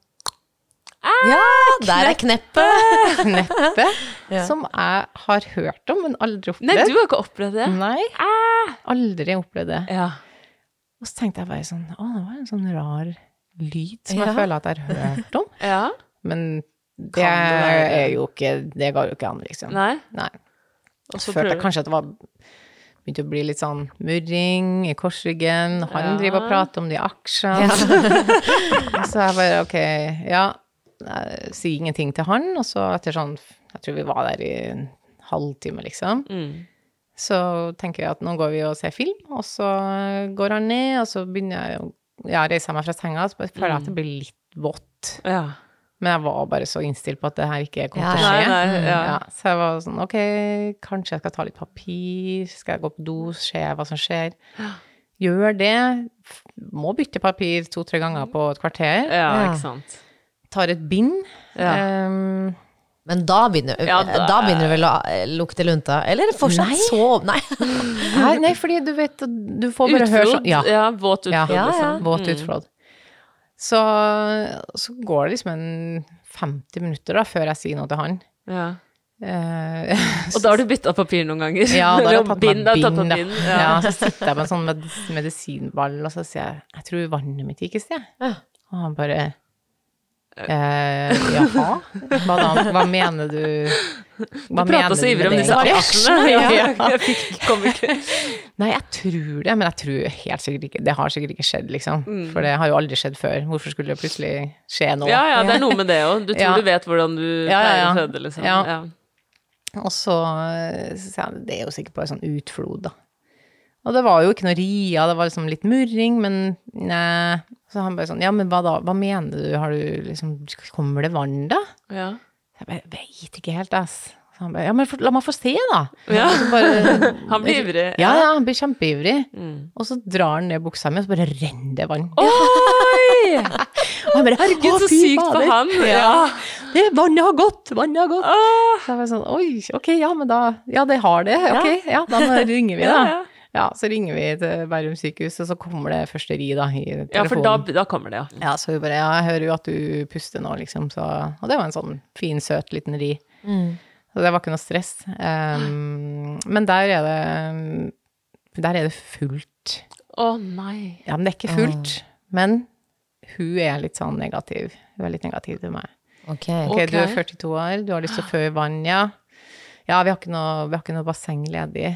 E: Ja, der er kneppet!
D: neppe som jeg har hørt om, men aldri
C: Nei, du
D: opplevd.
C: har ikke opplevd det?
D: Nei. Aldri opplevd det.
C: Ja.
D: Og så tenkte jeg bare sånn Å, det var en sånn rar lyd som
E: Ja.
D: jeg føler at jeg har hørt om.
C: ja.
D: Men det,
C: det være?
D: er jo ikke Det går jo ikke an, liksom.
C: Nei.
D: Og
C: så
D: så følte
C: prøver-
D: jeg kanskje at det var Begynte å bli litt sånn murring i korsryggen. Han
C: Ja.
D: driver og prater om de aksjene. så jeg bare ok, ja. Jeg sier ingenting til han, og så etter sånn Jeg tror vi var der i en halvtime, liksom.
C: Mm.
D: Så tenker jeg at nå går vi og ser film, og så går han
C: Mm.
D: ned, og så begynner jeg å ja, reiser jeg meg fra senga, og så bare føler jeg at det blir litt vått.
C: Ja.
D: Men jeg var bare så innstilt på at det her ikke kom
E: Ja,
D: til å
E: ja.
D: skje.
C: Nei, nei, ja.
D: så jeg var sånn, ok, kanskje jeg skal ta litt papir, skal jeg gå på do, se hva som skjer. Gjør det. F- Må bytte papir to-tre ganger på et kvarter.
C: Ja,
E: Ja.
C: ikke sant.
D: Tar et bind.
C: Ja.
D: Ehm,
E: Men da begynner,
C: Ja, da-
E: da... begynner det vel å eh, lukte lunta? Eller er det fortsatt
D: Nei.
E: så Nei.
D: nei, nei, fordi du vet, du får bare høre
C: Utflod.
D: sånn.
C: Ja. våt utflod,
D: Ja,
C: liksom.
D: Våt utflod. Så, så går det liksom en 50 minutter da, før jeg sier noe til han.
C: Ja.
D: Eh,
C: Og da har du bytta papir noen ganger.
D: ja, da har jeg
C: Eller
D: tatt meg
C: bind, da, tatt på
D: bind. da.
C: bind,
D: Ja.
C: Ja.
D: så sitter jeg med en sånn med medisinball, og så sier jeg jeg tror vannet mitt gikk i sted. Og han bare eh, jaha? Hva da? Hva mener du Hva
C: Du prata så ivrig om disse aksjene. Ja, jeg fikk, kom ikke.
D: Nei, jeg tror det, men jeg tror helt sikkert ikke Det har sikkert ikke skjedd, liksom.
C: Mm.
D: For det har jo aldri skjedd før. Hvorfor skulle det plutselig skje nå?
C: ja, ja, det er noe med det òg. Du tror
D: Ja.
C: du vet hvordan du
D: Ja, ja,
C: pleier å
D: ja.
C: føde, liksom.
D: Ja.
C: Ja.
D: Og så eh, så sa han det er jo sikkert bare sånn utflod, da. Og det var jo ikke noe ria, det var liksom litt murring, men nei. Så han bare sånn, ja, men hva da, hva mener du, har du liksom, kommer det vann da?
C: Ja.
D: Så jeg bare, vet ikke helt, ass. Så han bare, ja, men for, la meg få se da.
C: Ja.
D: Og så bare,
C: Han blir ivrig. Mm.
D: Ja, ja, han blir kjempeivrig. Og så drar han ned buksa mi, og så bare renner det vann.
C: Oi!
D: Og han bare,
C: Herregud,
D: «Å,
C: så
D: fy
C: sykt for
D: fader!»
C: han. Ja.
D: Ja. Det, vannet har gått, vannet har gått.
C: Åh,
D: Så jeg var sånn, oi, ok, ja, men da, ja, det har det, ok, ja, da må- ringer vi da.
C: Ja,
D: ja,
C: ja.
D: så ringer vi til Bærum sykehus, og så kommer det første ri da, i telefonen.
C: ja, for da, da kommer det, ja.
D: Ja, så hun bare, ja, jeg hører jo at du puster nå, liksom, så, og det var en sånn fin, søt liten ri.
C: Mm.
D: Så det var ikke noe stress. Um, men der er det, der er det fullt.
C: Å nei.
D: Ja, men det er ikke fullt, men hun er litt sånn negativ. Hun er litt negativ til meg.
E: Ok.
D: Ok, du er
C: Ok.
D: 42 år, du har lyst til å fø i vann, ja. Ja, vi har ikke noe, vi har ikke noe basseng ledig.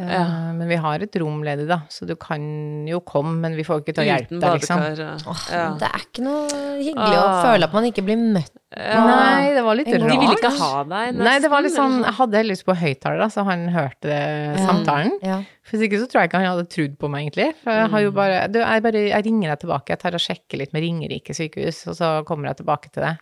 D: Eh,
C: Ja.
D: Men vi har et rom ledig, da, så du kan jo komme, men vi får ikke til å hjelpe
C: Uten
D: deg, liksom.
C: badekar. ja.
E: Åh,
C: Ja.
E: Det er ikke noe hyggelig å føle at man ikke blir møtt.
D: Nei, det var litt rart.
C: De ville ikke ha deg, nesten.
D: Nei, det var litt sånn,
C: eller
D: jeg hadde heller lyst på høyttaler, da, så han hørte det- samtalen.
E: Ja.
D: For Hvis ikke så tror jeg ikke han hadde trodd på meg, egentlig. For jeg
C: Mm.
D: har jo bare Du, jeg bare jeg ringer deg tilbake. Jeg tar og sjekker litt med Ringerike sykehus, og så kommer jeg tilbake til deg.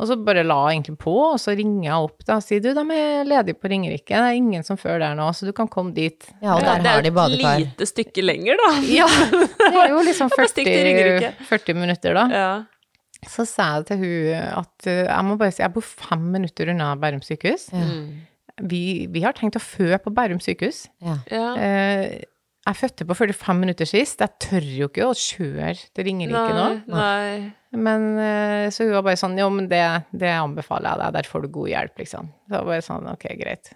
D: Og så bare la jeg egentlig på, og så ringer jeg opp da og sier du, de er ledige på Ringerike. Det er ingen som før der nå, så du kan komme dit.
E: ja, og
C: Ja,
E: der har de
C: Det er
E: badekar.
C: et lite stykke lenger, da.
D: Ja, det er jo liksom
C: Bare stikk til
D: 40,
C: Ringerike.
D: 40 minutter, da.
C: Ja.
D: Så sa jeg til hun at eh, jeg må bare si, jeg bor fem minutter unna Bærum sykehus.
C: Mm.
D: Vi, vi har tenkt å fø på Bærum sykehus.
E: Ja.
C: Ja.
D: Eh, jeg fødte på 45 minutter sist. Jeg tør jo ikke å kjøre til Ringerike nå.
C: Nei, nei.
D: Men eh, så hun var bare sånn Jo, men det, det anbefaler jeg deg. Der får du god hjelp, liksom. Så jeg var bare sånn Ok, greit.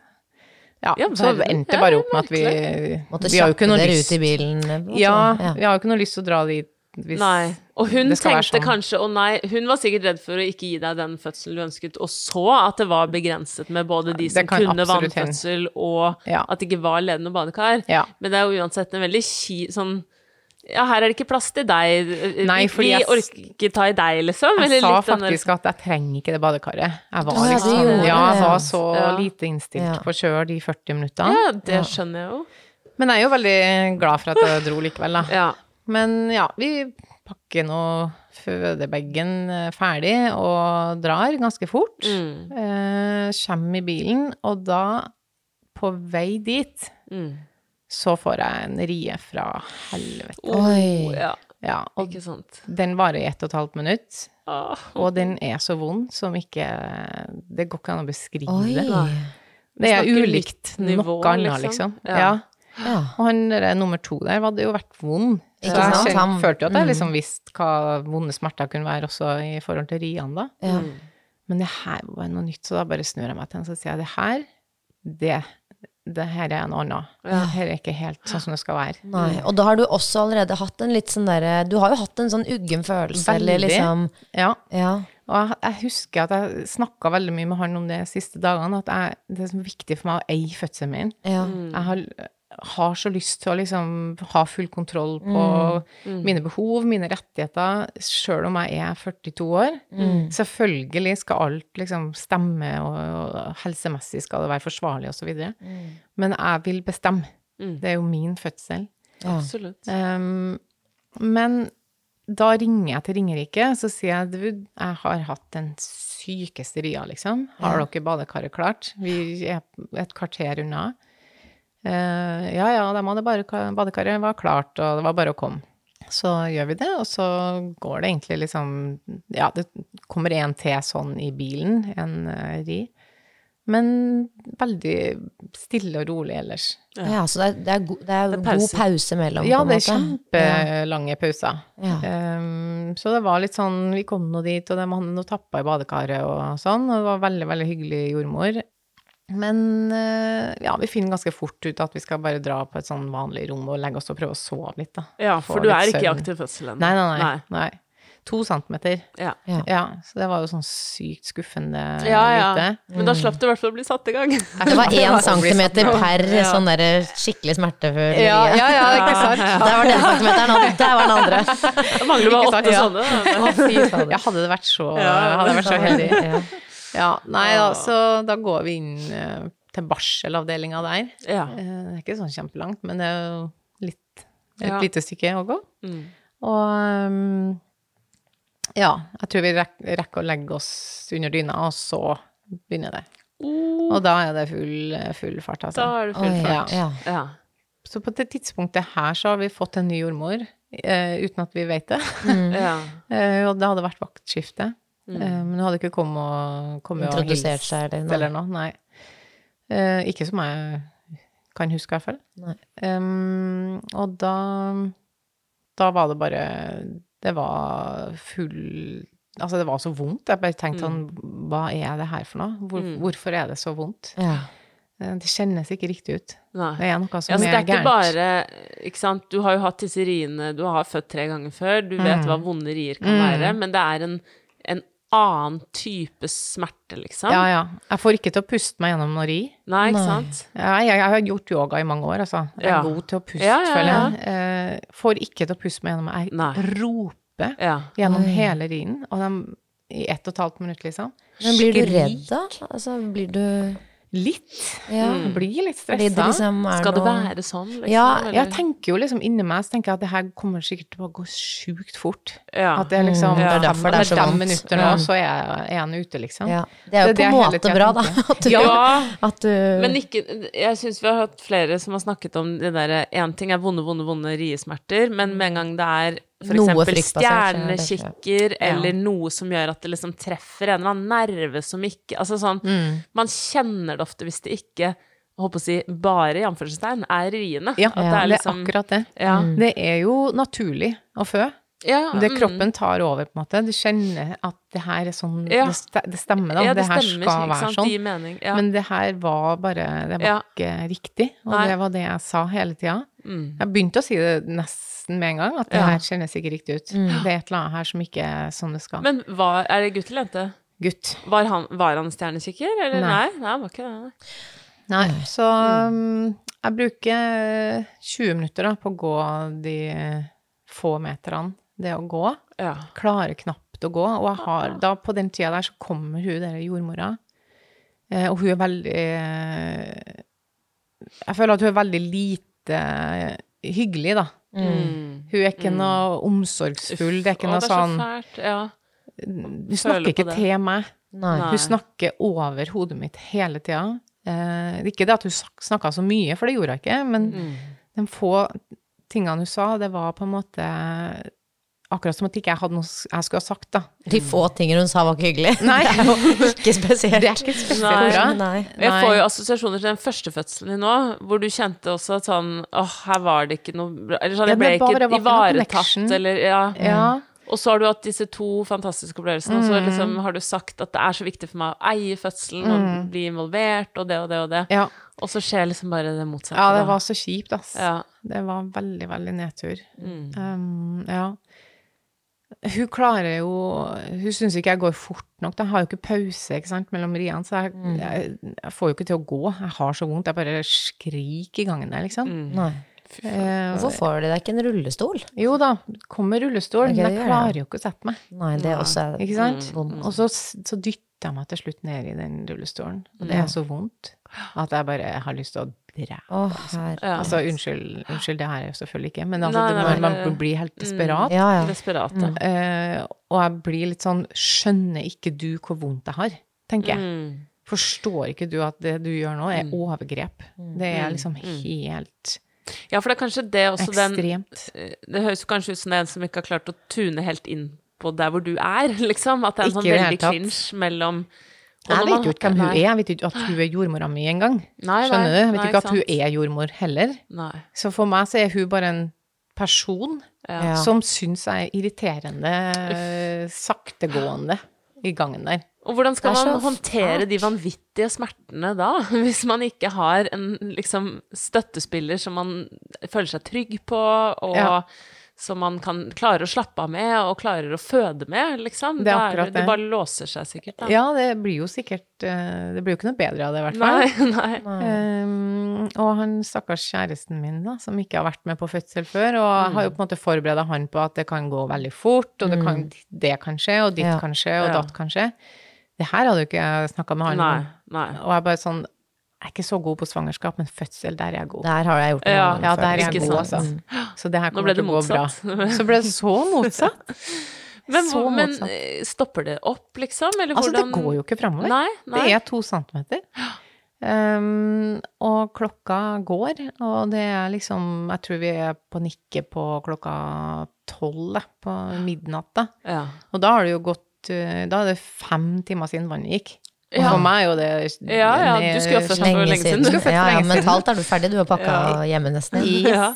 D: Ja,
C: Ja,
D: så
C: verden.
D: endte det
C: Ja,
D: bare opp med at vi
E: Måtte
D: Vi har jo
E: kjappe
D: ikke noe
E: dere
D: lyst
E: ut i bilen. altså.
D: ja,
E: Ja.
D: vi har jo ikke noe lyst til å dra dit hvis
C: Nei. Og hun
D: det skal være
C: tenkte
D: sånn.
C: kanskje å nei, hun var sikkert redd for å ikke gi deg den fødselen du ønsket, og så at det var begrenset med både de
D: Det
C: som
D: kan
C: kunne
D: absolutt hende.
C: vannfødsel, og
D: Ja.
C: at det ikke var ledende badekar.
D: Ja.
C: Men det er jo uansett en veldig ki... Sånn ja, her er det ikke plass til deg.
D: Nei,
C: Vi
D: fordi jeg s-
C: orker ikke ta i deg, liksom.
D: Jeg
C: Eller
D: sa
C: litt den der-
D: faktisk at jeg trenger ikke det badekaret. Jeg var,
E: Å, ja, du
D: liksom,
E: gjorde
D: ja, jeg
E: det.
D: var så
C: Ja.
D: lite innstilt
E: Ja.
D: på å kjøre de 40 minuttene.
C: Ja, det skjønner jeg jo.
D: Men jeg er jo veldig glad for at jeg dro likevel, da.
C: Ja.
D: Men ja, vi pakker nå fødebagen eh, ferdig og drar ganske fort.
C: Mm.
D: Eh, Kommer i bilen, og da, på vei dit,
C: Mm.
D: så får jeg en rie fra helvete.
E: Oi.
C: Ja,
D: Ja, og
C: ikke sant.
D: den varer i ett og et halvt minutt,
C: Åh.
D: og den er så vond som ikke Det går ikke an å beskrive.
E: Oi.
D: Det er
C: Snakker
D: ulikt
C: litt nivå,
D: noe annet,
C: liksom.
D: liksom.
C: Ja.
D: Ja.
E: Ja.
D: Og han der, nummer to der hadde jo vært vond. Så
E: Ikke sant? Mm.
D: jeg kjen-
E: Han-
D: følte jo at jeg liksom visste hva vonde smerter kunne være også i forhold til Rian, da.
E: Ja.
D: Men det her var noe nytt, så da bare snur jeg meg til henne og sier jeg, det her, det, det her er noe annet. Det her er ikke helt sånn som det skal være.
E: Nei, og da har du også allerede hatt en litt sånn derre Du har jo hatt en sånn uggen følelse, eller
D: Veldig.
E: liksom
D: Ja.
E: Ja.
D: Og jeg, jeg husker at jeg snakka veldig mye med han om det de siste dagene, at jeg, det er så viktig for meg å eie fødselen min.
E: ja.
D: Jeg har, har så lyst til å liksom ha full kontroll på mine behov, mine rettigheter, sjøl om jeg er 42 år. Selvfølgelig skal alt liksom stemme, og, og helsemessig skal det være forsvarlig osv. videre. Men jeg vil bestemme. Det er jo min fødsel.
C: Absolutt.
D: Um, men da ringer jeg til Ringerike, så sier jeg du, jeg har hatt den sykeste ria, liksom. Har dere badekaret klart? Vi er et kvarter unna. Eh, ja, ja, de hadde bare ka- badekaret var klart, og det var bare å komme. Så gjør vi det, og så går det egentlig liksom Ja, det kommer en til sånn i bilen, en eh, ri. Men veldig stille og rolig ellers.
E: Ja, så det er, det er, go det er, god
C: pause.
E: pause mellom,
D: Ja,
E: på en
D: det er
E: måte.
D: kjempelange pauser.
E: Ja.
D: Ehm, så det var litt sånn Vi kom nå dit, og de hadde noe tappa i badekaret og sånn, og det var veldig, veldig hyggelig jordmor. Men eh, ja, vi finner ganske fort ut at vi skal bare dra på et sånn vanlig rom og legge oss og prøve å sove litt, da.
C: Ja,
D: Få
C: for du
D: litt
C: er ikke i
D: søvn.
C: aktiv fødsel ennå.
D: Nei, nei, nei. nei. To centimeter.
C: Ja.
E: Ja.
D: Ja, så det var jo sånn sykt skuffende
C: Ja, ja.
D: lite. Mm.
C: Men da slapp du i hvert fall å bli satt i gang.
E: Det var én centimeter per
C: Ja.
E: sånn der skikkelig smertefull
D: Ja,
E: rie.
D: ja, ja, ikke sant?
E: Der var den centimeteren, og der var den andre.
C: Det mangler bare
D: Ikke sant?
C: åtte
D: Ja.
C: sånne.
D: Å, fy fader. Ja, hadde det vært så, hadde jeg vært så heldig.
E: Ja.
D: Ja, nei da, så da går vi inn eh, til barselavdelinga der.
C: Ja.
D: Eh, Det er ikke sånn kjempelangt, men det er jo litt, et
C: Ja. Mm.
D: lite stykke å gå. Og ehm, ja, jeg tror vi rek rekker å legge oss under dyna, og så begynner det. Og da er det full, full fart, altså.
C: Oh. Da er det
E: Oi,
C: full
E: ja.
C: fart.
E: ja.
C: Ja.
D: Så på det tidspunktet her så har vi fått en ny jordmor, eh, uten at vi vet det.
C: Ja.
D: Eh, og det hadde vært vaktskifte. Eh, men hun hadde ikke kommet og, kommet og hilst
E: Introdusert seg eller noe.
D: eller noe. Nei. Eh, ikke som jeg kan huske, i hvert fall.
E: Nei.
D: Em, og da Da var det bare Det var full Altså, det var så vondt. Jeg bare tenkte sånn Hva er det her for noe? Hvor, Hvorfor er det så vondt?
E: Ja.
D: Eh, Det kjennes ikke riktig ut.
C: Nei.
D: Det er noe som
C: Ja, så det
D: er
C: er ikke
D: gærent.
C: bare ikke sant? Du har jo hatt disse riene, du har født tre ganger før, du vet
D: Mm.
C: hva vonde rier kan være, men det er en, en annen type smerte, liksom.
D: Ja, ja. Jeg får ikke til å puste meg gjennom noe ri.
C: Nei, ikke sant?
D: Nei, jeg, jeg har gjort yoga i mange år, altså. Jeg er
C: Ja.
D: god til å puste,
C: Ja, ja, ja.
D: føler jeg. Eh, får ikke til å puste meg gjennom. Jeg
C: Nei.
D: roper
C: Ja.
D: gjennom hele rinen, og dem, i ett og et halvt minutt, liksom.
E: Men blir du
D: Skrik.
E: redd, da? Altså, blir du
D: Litt.
E: Ja.
D: Jeg blir litt
E: Fordi det
D: stressa.
E: liksom er
C: Skal det
E: noe-
C: være sånn, liksom?
E: Ja,
C: eller?
D: Jeg tenker jo liksom inni meg så tenker jeg at det her kommer sikkert til å gå sjukt fort.
C: Ja.
D: At det er liksom
E: Mm, det er derfor det er så
D: fem
E: vondt.
D: minutter nå,
E: Ja.
D: så er jeg- er han ute, liksom.
E: Ja. Det er jo
D: Det er
E: på en
D: det jeg hele
E: måte
D: tiden
E: bra, da.
D: tenker.
E: At du,
C: Ja.
E: at eh, du
C: Men ikke, jeg syns vi har hatt flere som har snakket om det derre Én ting er vonde, vonde, vonde riesmerter, men med en gang det er
E: Noe
C: f.eks.
E: fryktbasert, så er det ikke-
C: stjernekikker eller noe som gjør at det liksom treffer en eller annen nerve som ikke Altså sånn
D: Mm.
C: Man kjenner det ofte hvis det ikke, jeg håper å si, bare i anførselstegn, er liksom- riene.
D: Ja,
C: At
D: det er akkurat det.
C: Ja.
D: Det er jo naturlig å fø.
C: Ja,
D: Det
C: mm.
D: kroppen tar over, på en måte. Du kjenner at det her er sånn
C: Ja.
D: det, ste- det stemmer, da.
C: Ja,
D: det,
C: det
D: her
C: stemmer,
D: skal
C: ikke
D: være
C: sant? Det
D: sånn.
C: gir mening, ja.
D: Men det her var bare Det var
C: Ja.
D: ikke riktig. Og
C: Nei. Mm.
D: det var det jeg sa hele tida. Jeg begynte å si det nesten med en gang, at det
C: Ja. Mm.
D: her kjennes ikke riktig ut. Det er et eller annet her som ikke er sånn det skal.
C: Men var, er det gutt eller jente?
D: Gutt.
C: Var han, var han stjernekikker, eller? Nei,
D: Nei.
C: nei, han var ikke det. nei.
D: Nei. Så
C: Mm.
D: um, jeg bruker 20 minutter da, på å gå de få meterne det å gå.
C: Ja.
D: klarer knapt å gå. Og jeg har, da, på den tida der så kommer hun der jordmora. Eh, og hun er veldig eh, Jeg føler at hun er veldig lite eh, hyggelig, da. Hun er ikke noe omsorgsfull. Det er ikke
C: Mm. Å,
D: noe
C: det er så
D: sånn
C: fælt. Ja.
D: Hun snakker
C: på
D: ikke
C: det.
D: til meg.
E: Nei.
C: Nei.
D: Hun snakker over hodet mitt hele tida. Eh, ikke det at hun sak- snakka så mye, for det gjorde hun ikke, men
C: Mm.
D: de få tingene hun sa, det var på en måte akkurat som at ikke jeg hadde noe s- jeg skulle ha sagt, da.
E: De få tingene hun sa, var ikke hyggelig.
D: Nei. eh,
E: det er jo ikke spesielt.
D: Det er ikke
C: Nei.
D: spesielt bra.
E: Nei.
C: Og Jeg
D: Nei.
C: får jo assosiasjoner til den første fødselen din nå, hvor du kjente også at sånn Åh, her var det ikke noe bra Eller sånn,
D: Ja,
C: jeg ble
D: det
C: ikke
D: bare var ikke noe
C: ivaretatt,
D: connection.
C: eller ja. Mm.
D: Ja. Mm.
C: Og så har du hatt disse to fantastiske opplevelsene, og så liksom har du sagt at det er så viktig for meg å eie fødselen og bli involvert og det og det og det.
D: Mm. Ja.
C: Og så skjer liksom bare det motsatte.
D: ja, det
C: da.
D: var så kjipt, ass.
C: Ja.
D: Det var veldig, veldig nedtur. Um, ja. Hun klarer jo Hun syns ikke jeg går fort nok. da. Jeg har jo ikke pause ikke sant, mellom riene, så jeg, jeg, jeg får jo ikke til å gå. Jeg har så vondt. Jeg bare skriker i gangen der, liksom.
E: Nei.
D: Eh,
E: Hvorfor får de deg ikke en rullestol?
D: jo da, kommer rullestol, men
E: Ok, det
D: jeg
E: gjør Mm.
D: klarer jo ikke å sette meg.
E: Nei, det er også er
D: Ikke sant? Mm.
E: vondt.
D: Og så, så dytter jeg meg til slutt ned i den rullestolen. Og det er så vondt at jeg bare har lyst til å ræv.
E: Å, herre.
C: Ja.
D: Altså, unnskyld, unnskyld, det her er jo selvfølgelig ikke, men altså,
C: Nei,
D: det,
C: nei,
D: man,
C: nei, Mm.
D: man
C: nei.
D: blir helt desperat.
E: Ja, ja.
C: Desperat, ja.
D: Eh, og jeg blir litt sånn Skjønner ikke du hvor vondt jeg har? tenker jeg.
C: Mm.
D: Forstår ikke du at det du gjør nå, er overgrep?
C: Mm.
D: Det er liksom helt
C: Ja, for det er kanskje det også den
D: Ekstremt.
C: Det høres jo kanskje ut som det er en som ikke har klart å tune helt inn på der hvor du er, liksom. At det er en
D: Ikke
C: sånn
D: i det hele
C: veldig
D: tatt.
C: clinch mellom Og når
D: Jeg
C: man-
D: vet jo ikke hvem hun
C: Nei.
D: er. Jeg vet jo ikke at hun er jordmora mi engang.
C: Nei, nei,
D: Skjønner du? Jeg
C: nei,
D: vet jo ikke at
C: ikke
D: hun
C: sant.
D: er jordmor heller.
C: Nei.
D: Så for meg så er hun bare en person
E: Ja.
D: som syns jeg er irriterende saktegående i gangen der.
C: Og hvordan skal
E: Det er
C: man
E: så
C: håndtere de vanvittige smertene da, hvis man ikke har en liksom, støttespiller som man føler seg trygg på, og
D: Ja.
C: som man kan klarer å slappe av med, og klarer å føde med, liksom?
D: Det er
C: Da
D: akkurat det.
C: Det bare låser seg sikkert, da.
D: Ja, det blir jo sikkert eh, Det blir jo ikke noe bedre av det, i hvert fall.
C: Nei, nei.
D: Um, og han stakkars kjæresten min, da, som ikke har vært med på fødsel før, og
C: Mm.
D: jeg har jo på en måte forberedt han på at det kan gå veldig fort, og det kan, det kan skje, og ditt
E: Ja.
D: kan skje, og
C: Mm. Ja.
D: datt kan skje. Det her hadde jo ikke jeg snakka med han
C: Nei,
D: om.
C: nei.
D: Og jeg bare sånn Jeg er ikke så god på svangerskap, men fødsel, der er jeg god.
E: Der har jeg gjort det.
C: Ja.
E: mange
D: ja,
E: ganger
D: der er jeg
E: før.
C: Ikke
D: god, altså.
C: sant. Mm.
D: Så det her
C: Nå ble
D: kommer til
C: det
D: å gå bra.
C: motsatt.
D: Så ble det så motsatt.
C: Men,
D: så
C: hvor- men
D: motsatt.
C: eh, stopper det opp, liksom? Eller
D: Altså, det
C: hvordan
D: går jo ikke framover.
C: Nei, nei.
D: Det er to centimeter. Um, og klokka går, og det er liksom Jeg tror vi er på nikket på klokka tolv, da, på midnatt, da.
C: Ja.
D: Og da har det jo gått eh, Da er det fem timer siden vannet gikk. Og
C: Ja.
D: for meg er jo det
C: ja, ja, du skulle ha
D: det-
C: født for
E: Lenge
C: lenge
E: siden.
C: siden.
E: Ja, ja,
D: lenge siden.
E: mentalt er du ferdig. Du har pakka hjemme nesten.
C: Ja.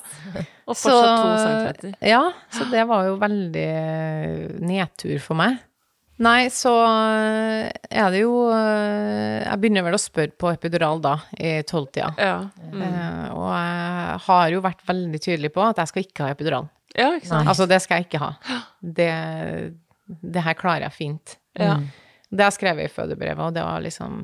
C: Og
D: Så-
C: fortsatt to centimeter.
D: Ja, så det var jo veldig eh, nedtur for meg. Nei, så eh, er det jo eh, Jeg begynner vel å spørre på epidural da, i tolvtida.
C: Ja. Mm.
D: Eh, og jeg har jo vært veldig tydelig på at jeg skal ikke ha epidural.
C: ja, ikke sant.
D: Altså, det skal jeg ikke ha. Det, det her klarer jeg fint. Mm.
C: Ja. Mm.
D: Det har jeg skrevet i fødebrevet, og det var liksom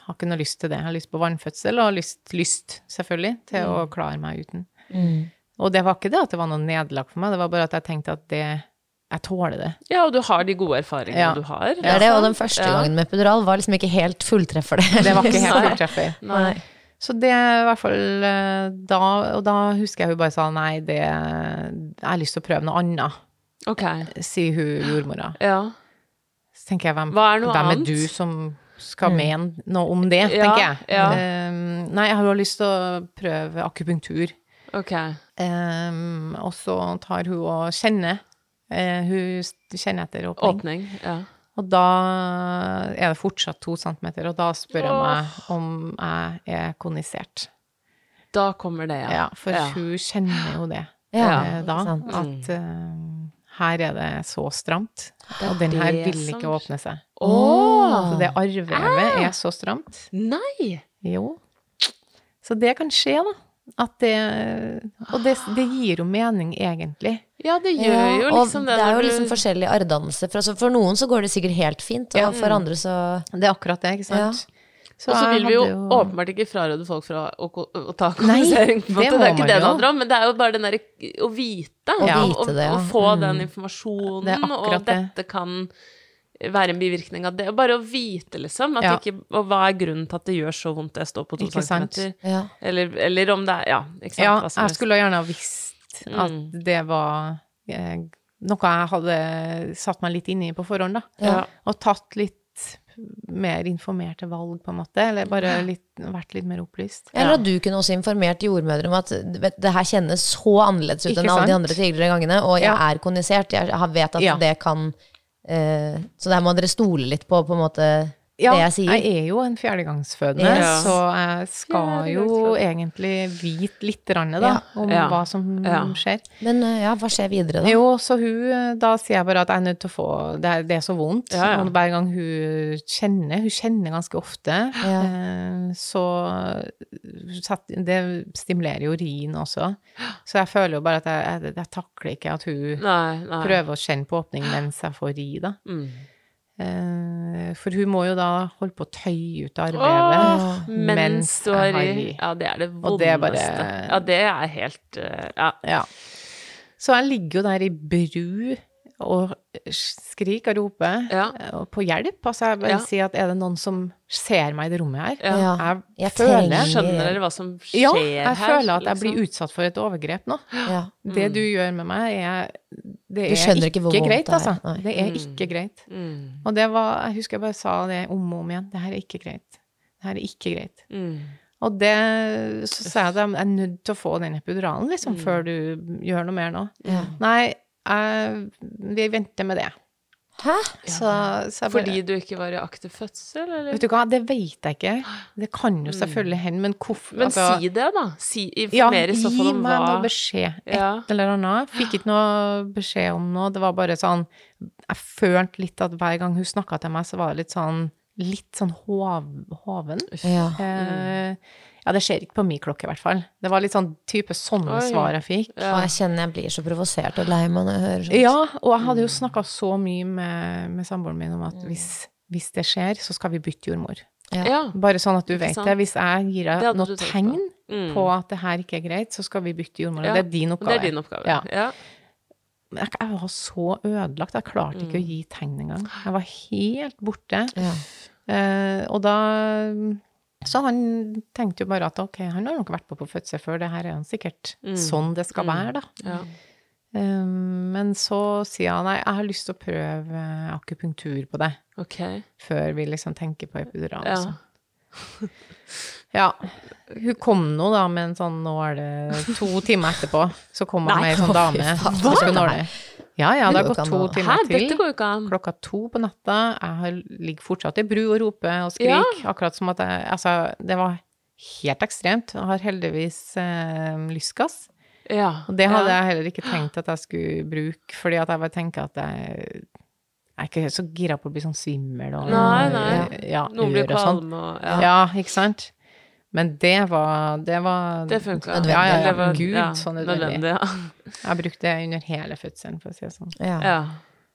D: Har ikke noe lyst til det. Jeg har lyst på vannfødsel, og har lyst, lyst selvfølgelig, til å
C: Mm.
D: klare meg uten. Og det var ikke det at det var noe nederlag for meg, det var bare at jeg tenkte at det Jeg tåler det.
C: Ja, og du har de gode erfaringene
D: Ja.
C: du har.
E: Det er det, og den første gangen med epidural var liksom ikke helt fulltreffer, det.
D: Det var ikke helt
C: Nei.
D: fulltreffer.
C: Nei.
D: Så det i hvert fall eh, da Og da husker jeg hun bare sa nei, det Jeg har lyst til å prøve noe annet,
C: Ok.
D: sier hun jordmora.
C: Ja.
D: Så tenker jeg, hvem,
C: Hva er noe
D: hvem
C: annet?
D: er du som skal mene noe om det,
C: Ja,
D: tenker jeg.
C: ja.
D: Ehm, nei, jeg har jo lyst til å prøve akupunktur.
C: Ok.
D: Ehm, og så tar hun og kjenner. Eh, hun s- kjenner etter åpning.
C: Åpning. Ja.
D: Og da er det fortsatt to centimeter, og da spør hun meg om jeg er konisert.
C: Da kommer det, ja.
D: Ja, for hun kjenner jo det
E: Ja,
D: eh, da,
E: ikke sant.
D: at
C: Mm.
D: eh, her er det så stramt, og den her
C: det
D: vil
C: som
D: ikke åpne seg.
C: Åh!
D: Så det
C: Ah.
D: arvevevet er så stramt.
C: Nei!
D: Jo. Så det kan skje, da. At det Og det, det gir jo mening, egentlig.
C: Ja, det gjør
E: Ja,
C: jo
E: og
C: liksom
E: det
C: det.
E: er
C: når
E: jo
C: du-
E: liksom forskjellig arrdannelse. For, altså, for noen så går det sikkert helt fint, og for andre så
D: Det er akkurat det, ikke sant?
C: Og så vil vi jo
D: jeg hadde
C: åpenbart ikke fraråde folk fra å, ko- å ta kolonisering. på en
D: det
C: måte. Det,
D: må
C: er ikke
D: man
C: det det
D: jo.
C: handler om, men det er jo bare den derre å vite.
E: Å
C: og-
E: vite det, ja.
C: og, og få den informasjonen,
D: Mm. Det er akkurat
C: og dette kan være en bivirkning av det. Og bare å vite, liksom. At
D: Ja.
C: ikke, og hva er grunnen til at det gjør så vondt det står på to
D: Ikke sant.
C: centimeter?
E: Ja.
C: Eller, eller om det er Ja, ikke sant.
D: Ja,
C: hva som
D: jeg
C: helst.
D: skulle gjerne ha visst
C: Mm.
D: at det var eh, noe jeg hadde satt meg litt inn i på forhånd, da.
C: Ja.
D: Og tatt litt mer informerte valg, på en måte. Eller bare litt, vært litt mer opplyst.
E: Eller at du kunne også informert jordmødre om at vet, det her kjennes så annerledes ut
D: Ikke
E: enn alle de
D: sant?
E: andre tidligere gangene, og jeg
D: Ja.
E: er konisert, jeg har- vet at
D: Ja.
E: det kan eh, Så der må dere stole litt på, på en måte,
D: Ja,
E: det jeg sier.
D: jeg er jo en fjerdegangsfødende,
E: Yes.
D: så jeg skal jo egentlig vite litt rann, da, om
C: Ja.
D: hva som
C: Ja.
D: skjer.
E: Men eh, ja, hva skjer videre, da?
D: Jo, så hun Da sier jeg bare at jeg er nødt til å få Det er, det er så vondt.
C: Ja, ja.
D: Og hver gang hun kjenner Hun kjenner ganske ofte. eh, Så satt- Det stimulerer jo urin også. Så jeg føler jo bare at jeg, jeg, jeg takler ikke at hun
C: Nei, nei. Mm.
D: prøve å kjenne på åpning mens jeg får ri, da. Eh, For hun må jo da holde på å tøye ut armvevet
C: Åh, mens du har i Ja, det er det
D: Og det
C: vondeste.
D: er bare-
C: Ja, det er helt eh, Ja.
D: Ja. Så jeg ligger jo der i bru og skrik og rope
C: Ja.
D: eh, og på hjelp. Altså, jeg vil
C: Ja.
D: si at er det noen som ser meg i det rommet her?
E: Ja.
D: Jeg,
E: Jeg
D: føler
E: trenger-
C: Skjønner dere hva som skjer
D: Ja,
C: her?
D: jeg føler at jeg
C: liksom?
D: blir utsatt for et overgrep nå.
E: Ja.
D: Det du gjør med meg, er Det
E: Mm. Du
D: er
E: skjønner ikke
D: ikke,
E: hvor vondt
D: greit,
E: det er.
D: altså.
E: Nei. Mm.
D: Det er ikke greit. Og det var Jeg husker jeg bare sa det om og om igjen. Det her er ikke greit. Det her er ikke greit.
E: Mm.
D: Og det Så sa jeg at jeg er nødt til å få den epiduralen, liksom,
E: Mm.
D: før du gjør noe mer nå. Nei, jeg, vi venter med det.
E: Hæ?
D: Så, så jeg bare
C: Fordi du ikke var i aktiv fødsel, eller?
D: Vet du hva, det vet jeg ikke. Det kan
E: Mm.
D: jo selvfølgelig hende, men hvorfor
C: Men
D: altså-
C: si det, da. Si,
D: Ja,
C: informer i så fall
D: gi
C: om
D: meg
C: hva
D: noe beskjed. Et
C: Ja.
D: eller annet. Fikk ikke noe beskjed om noe. Det var bare sånn Jeg følte litt at hver gang hun snakka til meg, så var det litt sånn Litt sånn hov, hoven.
E: Ja.
D: Eh, ja, det skjer ikke på min klokke, i hvert fall. Det var litt sånn type sånne
C: Oi.
D: svar jeg fikk.
E: Og jeg kjenner jeg blir så provosert og lei meg når jeg hører sånt.
D: Ja, og jeg hadde jo snakka så mye med, med samboeren min om
C: Mm.
D: at hvis, hvis det skjer, så skal vi bytte jordmor.
C: Ja.
D: Bare sånn at du vet
C: sant?
D: det. Hvis jeg gir
C: Det
D: deg
C: hadde
D: noe
C: du tenkt
D: tegn
C: på. Mm.
D: på. at det her ikke er greit, så skal vi bytte jordmor.
C: Ja,
D: Det er din oppgave.
C: Det er din oppgave.
D: Ja.
C: Ja.
D: Men jeg, jeg var så ødelagt. Jeg klarte ikke å gi tegn engang. Jeg var helt borte.
E: Ja.
D: Eh, og da Så han tenkte jo bare at ok, han har nok vært på på fødsel før, det her er han sikkert sånn det skal være, da.
C: Ja.
D: Eh, men så sier han nei, jeg har lyst til å prøve eh, akupunktur på deg
C: Ok.
D: før vi liksom tenker på epidural.
C: Ja.
D: og sånn. Ja. Hun kom nå da med en sånn nåle to timer etterpå. Så kom hun
E: Nei,
D: med ei sånn
E: å, fy
D: dame.
E: faen.
D: som skulle
E: Hva?
D: nåle. Ja, ja, det har
E: Det går
D: gått
E: ikke
D: to
E: an å-
D: timer
C: Her,
D: til.
C: dette går jo ikke an.
D: Klokka to på natta. Jeg har, ligger fortsatt i bru og roper og skriker. Akkurat som at jeg Altså, det var helt ekstremt. Jeg har heldigvis eh, lystgass.
C: Ja.
D: Og det hadde
C: ja.
D: jeg heller ikke tenkt at jeg skulle bruke, fordi at jeg bare tenker at jeg, jeg er ikke så gira på å bli sånn svimmel og
C: Nei, nei.
D: mm, Ja,
C: Noen blir
D: ur og sånn.
C: kvalme og
D: Ja. ikke sant? Men det var Det, var,
C: Det funka.
E: Nødvendig.
D: Ja, ja, ja.
C: Det var-
D: Gud,
C: ja,
D: så nødvendig.
C: ja.
D: Jeg brukte det under hele fødselen, for å si det sånn.
E: Ja.
C: ja.